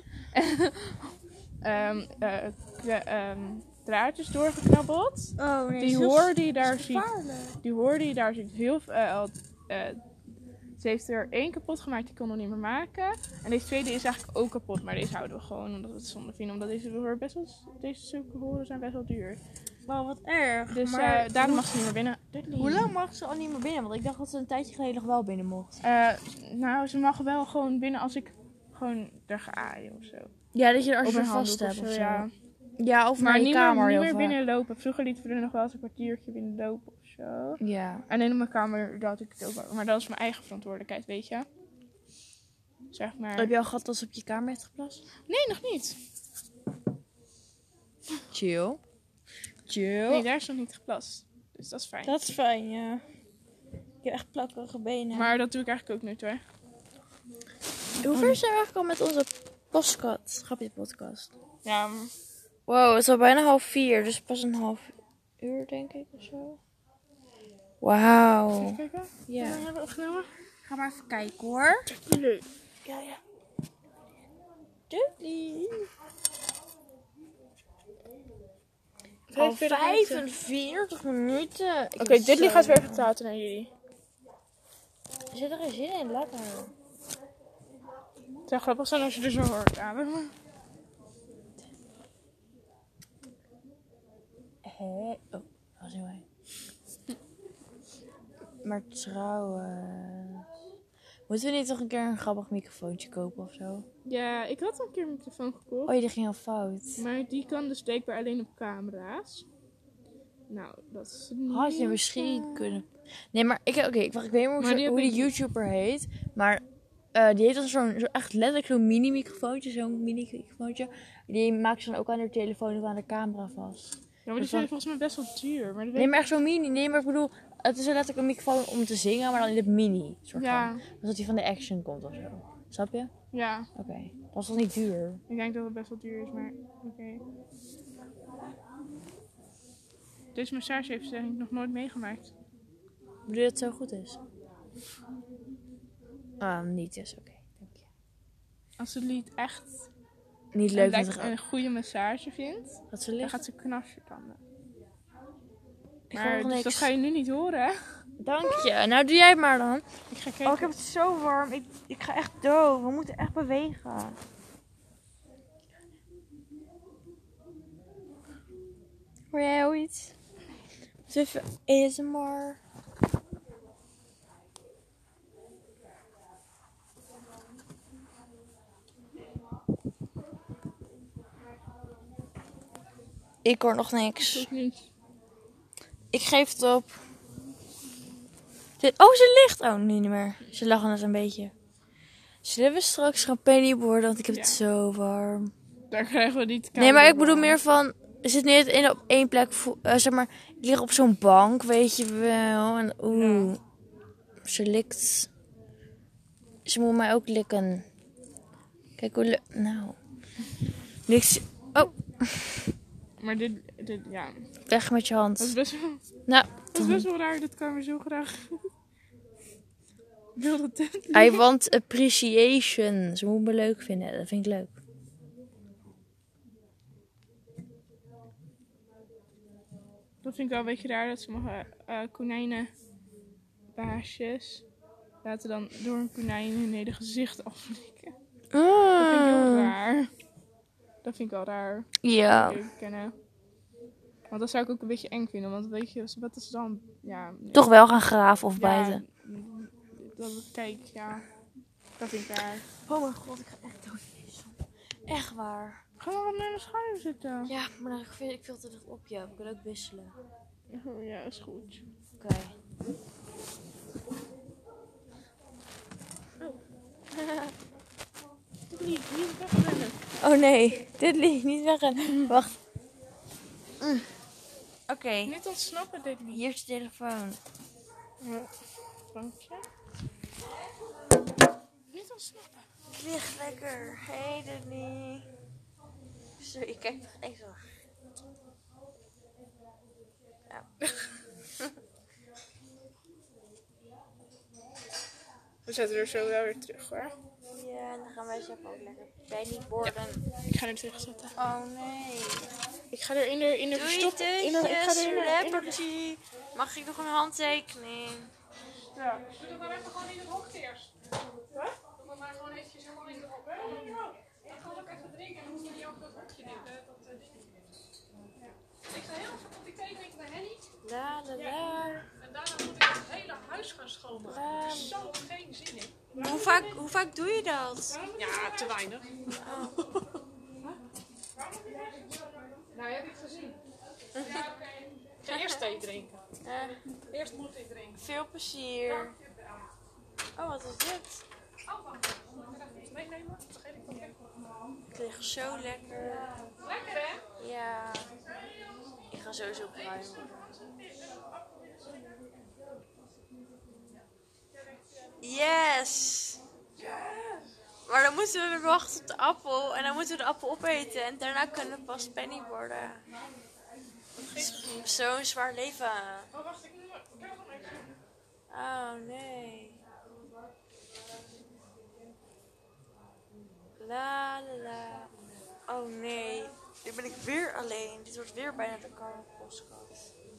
A: Ehm eh, kle- ehm, draadjes doorgeknabbeld.
H: Oh nee.
A: Die hoor die je daar ziet, die hoor die je daar ziet heel veel. eh, al- eh, ze heeft er één kapot gemaakt, die kon nog niet meer maken. En deze tweede is eigenlijk ook kapot, maar deze houden we gewoon omdat we het zonde vinden. Omdat deze horen best wel, deze zulke horen zijn best wel duur.
B: Oh,
H: Wow, wat erg.
A: Dus
H: maar
A: eh, daarom mag ze niet meer binnen. Dudley.
H: hoe lang mag ze al niet meer binnen? Want ik dacht dat ze een tijdje geleden nog wel binnen mocht.
A: Eh, nou, ze mag wel gewoon binnen als ik gewoon er ga aaien of zo.
B: Ja, dat je er
A: Op
B: als je
A: een
B: vast
A: handdoek
B: hebt
A: of zo,
B: of zo.
A: ja.
G: Ja, of
A: Maar
G: naar je
A: niet meer,
G: kamer
A: niet
G: heel
A: meer
G: vaak.
A: binnen lopen. Vroeger lieten we er nog wel eens een kwartiertje binnen lopen of zo.
G: Ja.
A: En in mijn kamer dat ik het ook wel. Maar dat is mijn eigen verantwoordelijkheid, weet je. Zeg maar.
G: Heb je al gehad als op je kamer heeft geplast?
A: Nee, nog niet.
G: Chill. Chill.
A: Nee, daar is nog niet geplast. Dus dat is fijn.
B: Dat is fijn, ja. Ik heb echt plakkerige benen.
A: Maar dat doe ik eigenlijk ook nooit hoor.
G: Hoe ver zijn we eigenlijk al met onze podcast? Grapje podcast.
A: Ja, maar-
G: Wow, het is al bijna half vier, dus pas een half uur denk ik of zo. Wauw.
A: even kijken.
G: Ja.
A: Hebben we opgenomen?
B: Ga maar even kijken hoor.
A: Leuk.
B: Doei.
G: Al 45 minuten. Ik
A: Oké, dit Dudley
B: eh,
A: gaat weer vertalen naar jullie.
B: Zit er geen zin in? Laat maar.
A: Het zou grappig zijn als je er zo hoort aan.
B: Hé. Oh, was heel heen. Maar trouwens. Moeten we niet toch een keer een grappig microfoontje kopen of zo?
A: [laughs] Ja, ik had een keer een microfoon gekocht.
B: Oh, die ging al fout.
A: Maar die kan dus blijkbaar alleen op camera's. Nou, dat is niet... eh,
B: Had je misschien kunnen. Nee, maar ik, oké, ik, wacht, ik weet niet
A: Maar
B: hoe,
A: die
B: zo-
A: heb
B: hoe die
A: ik-
B: YouTuber heet. Maar eh, die heeft dan zo'n zo echt letterlijk zo'n mini-microfoontje. Zo'n mini-microfoontje. Die maakt ze dan ook aan haar telefoon of aan de camera vast.
A: Ja, maar die zijn volgens mij best wel duur. Maar dat weet
B: Nee, maar echt zo'n mini. Nee, maar ik bedoel, het is letterlijk een microfoon om te zingen, maar dan in het mini. Soort
A: Ja.
B: van. Zodat hij van de action komt of zo. Snap je?
A: Ja,
B: Oké. Dat is toch niet duur?
A: ik denk dat het best wel duur is, maar oké. Deze massage heeft ze denk ik nog nooit meegemaakt.
B: Ik bedoel dat het zo goed is. Ah, niet is oké. Dank je.
A: Als ze het lied echt
B: Niet
A: een,
B: leuk dat
A: lek-
B: er
A: een goede massage vindt,
B: dat ze
A: dan
B: ligt.
A: gaat ze knasje tanden.
B: hoor
A: Maar dus
B: niks.
A: dat ga je nu niet horen, hè?
B: Dank je. Nou, doe jij het maar dan.
A: Ik ga
B: Oh,
A: kijken.
G: heb het zo warm. Ik, ik ga echt dood. We moeten echt bewegen.
B: Hoor jij ooit?
G: Even ASMR. Ik hoor nog niks.
A: Ook niet.
G: Ik geef het op. Dit, oh, ze ligt. Oh, nu niet meer. Ze lachen het een beetje. Zullen we straks champagne worden? Want ik heb het
A: Ja.
G: zo warm.
A: Daar krijgen we niet
G: Nee, maar ik
A: camera
G: bedoel
A: van.
G: meer van... Er zit niet in op één plek... vo- eh, zeg maar, ik lig op zo'n bank, weet je wel. En oeh... Ze likt... Ze moet mij ook likken. Kijk hoe... le- Nou... Likt ze... Oh,
A: Maar dit, dit ja.
G: weg met je
A: Dat is
G: hand.
A: best wel,
G: Nou,
A: dat is best wel raar. Dat kan me zo graag. [laughs] Wil dat dit?
G: I want appreciation. Ze moet me leuk vinden. Dat vind ik leuk.
A: Dat vind ik wel een beetje raar dat sommige eh konijnenbaasjes laten dan door een konijn hun hele gezicht aflikken. Dat vind ik
G: Ah.
A: heel
B: Mm.
A: raar. Dat vind ik wel raar.
G: Ja.
A: Dat kennen. Want dat zou ik ook een beetje eng vinden. Want weet je, wat is dan? Ja, nee.
G: Toch wel gaan graven of
A: Ja,
G: bijten.
A: mm, dat, kijk, ja. Dat vind ik raar.
B: Oh mijn god, ik ga echt dood. Echt waar.
A: Ga maar wat naar de schaduw zitten.
B: Ja, maar dan vind ik veel te dicht op je. We kunnen ook wisselen.
A: Oh, ja, is goed.
B: Oké.
G: Oh nee, dit liet niet zeggen. Wacht. Oké,
A: Niet ontsnappen, dit niet.
G: hier is de telefoon.
A: Dank je. Niet ontsnappen.
G: Ligt lekker. Hey, Danny. Sorry, ik kijk nog eens op.
A: We zetten er zo wel weer terug hoor.
G: Ja, en dan gaan wij zelf ook lekker. Wij niet borden.
A: Ik ga er terug zetten.
G: Oh nee.
A: Ik ga er in de, in de
G: Doei,
A: verstop. In de, ik ga
G: tusjes,
A: er in de,
G: rappertje. Mag ik nog een handtekening?
A: Ja. Doe dat maar even gewoon in het hok eerst. Doe dat maar gewoon eventjes helemaal in het hok. Dan ga ik even drinken en dan moet je niet ook dat hokje nemen. Dat eh, dingetje. Ja. Ik ga heel even op die thee drinken bij Henny.
G: La la la.
A: En daarna moet ik eh, het hele huis gaan schoonmaken. Ik heb er zo geen zin in.
G: Hoe vaak, hoe vaak doe je dat?
A: Ja, te weinig. Nou, heb ik gezien. Ja, oké. Ga eerst thee drinken.
G: Eh,
A: Eerst moet ik drinken.
G: veel plezier. Oh, wat is dit?
A: Oh, wacht. Moet ik er even iets meenemen? Vergeet ik dat echt.
G: Het ligt zo lekker.
A: Lekker, hè?
G: Ja. Ik ga sowieso pruimen. Yes! Maar dan moeten we weer wachten op de appel. En dan moeten we de appel opeten. En daarna kunnen we pas penny worden. Zo'n zwaar leven.
A: Oh, wacht. Ik moet... Ik heb nog niks.
G: Oh nee. La la la. Oh nee. Nu ben ik weer alleen. Dit wordt weer bijna de Karma podcast.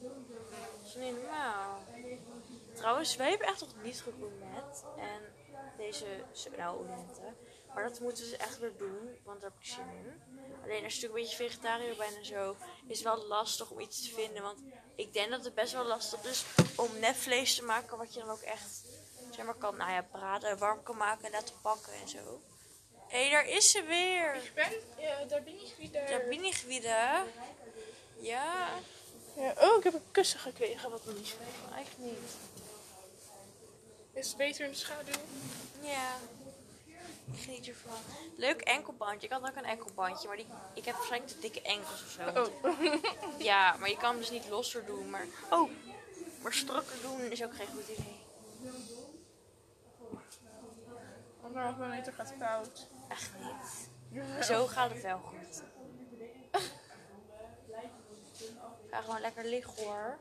G: Dat is niet normaal. Trouwens, wij hebben echt nog niet net En deze sauna-olenten. Maar dat moeten we dus echt weer doen. Want daar heb ik zin in. Alleen als je natuurlijk een beetje vegetariër bent en zo. Is het wel lastig om iets te vinden. Want ik denk dat het best wel lastig is om net vlees te maken wat je dan ook echt zeg maar kan, nou ja, braden, warm kan maken en laten pakken en zo. Hé, daar is ze weer!
A: Ik ben... Ja, daar ben ik weer.
G: Daar ben ik wieder. Ja,
A: Ja, oh, ik heb een kussen gekregen wat me niet viel.
G: echt niet.
A: Is het beter in de schaduw?
G: Ja. Ik geniet ervan. Leuk enkelbandje. Ik had ook een enkelbandje, maar die, ik heb waarschijnlijk te dikke enkels of zo. Ja, maar je kan hem dus niet losser doen, maar... Oh, maar strakker doen is ook geen goed idee.
A: Anderhalve meter gaat fout.
G: Echt niet. Zo gaat het wel goed. Ga gewoon lekker liggen hoor.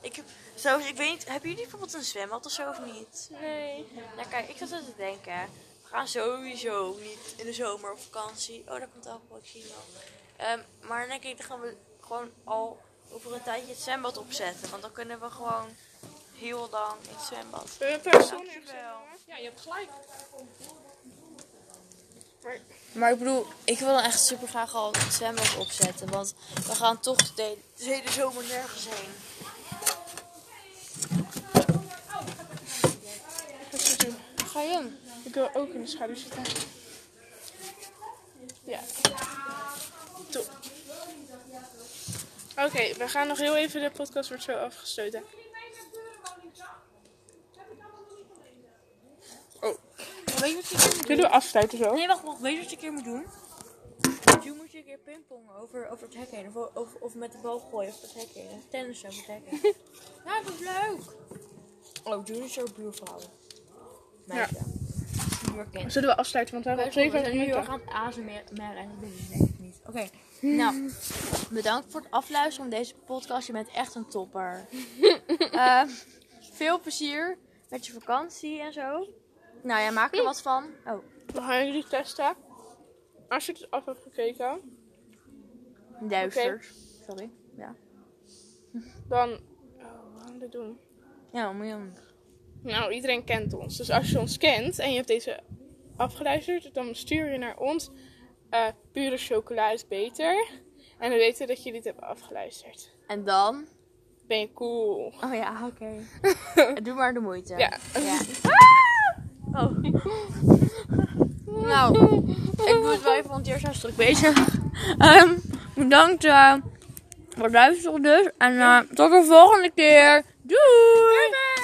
G: Ik heb, zo, ik weet niet, hebben jullie bijvoorbeeld een zwembad of zo of niet?
A: Nee.
G: Nou kijk, ik zat zo te denken. We gaan sowieso niet in de zomer op vakantie. Oh, daar komt ook wel, ik zie hem al. Ehm, maar dan denk ik, dan gaan we gewoon al over een tijdje het zwembad opzetten. Want dan kunnen we gewoon heel lang in het zwembad.
A: We hebben daar zon in gezet,
G: Dankjewel.
A: jongen. Ja, je hebt gelijk.
B: Maar ik bedoel, ik wil dan echt super graag al het zwembad opzetten. Want we gaan toch de
G: de hele zomer nergens heen.
A: Wat ze doen.
B: Ga je hem?
A: Ik wil ook in de schaduw zitten. Ja. Top. Oké, we gaan nog heel even. De podcast wordt zo afgesloten.
G: Weet je wat ik keer moet
A: Kunnen we afsluiten zo?
G: Nee, wacht, wacht. Weet je wat je een keer moet doen? Je moet je een keer pingpongen over, over het hek heen. Of, of, of met de bal gooien over het hek heen. Of tennis over het hek heen. ja, dat is leuk. Oh, June is jouw buurvrouw. Meisje. Buurkind.
A: Zullen we afsluiten, want we hebben
I: We
A: al
I: zijn
A: 7
I: nu heel
A: minuten.
I: erg aan het ASMR en dat ben ik denk ik niet. Oké.
B: Nou, bedankt voor het afluisteren van deze podcast. Je bent echt een
G: [laughs]
B: topper. Eh, veel plezier met je vakantie en zo. Nou ja, maak er wat van. Oh,
A: We gaan jullie testen. Als je het af hebt gekeken,
B: duister. Sorry. Ja.
A: dan... Oh, wat gaan we dit doen?
B: Ja, miljoen.
A: Nou, iedereen kent ons. Dus als je ons kent en je hebt deze afgeluisterd, dan stuur je naar ons eh, pure chocola is beter. En we weten dat jullie het hebben afgeluisterd.
B: En dan?
A: Ben je cool?
B: Oh ja, oké. [laughs] Doe maar de moeite.
A: Ja.
B: Nou, ik doe het wel even, want hier zijn druk bezig. Ehm, bedankt eh, voor het luisteren dus. En eh, tot de volgende keer. Doei!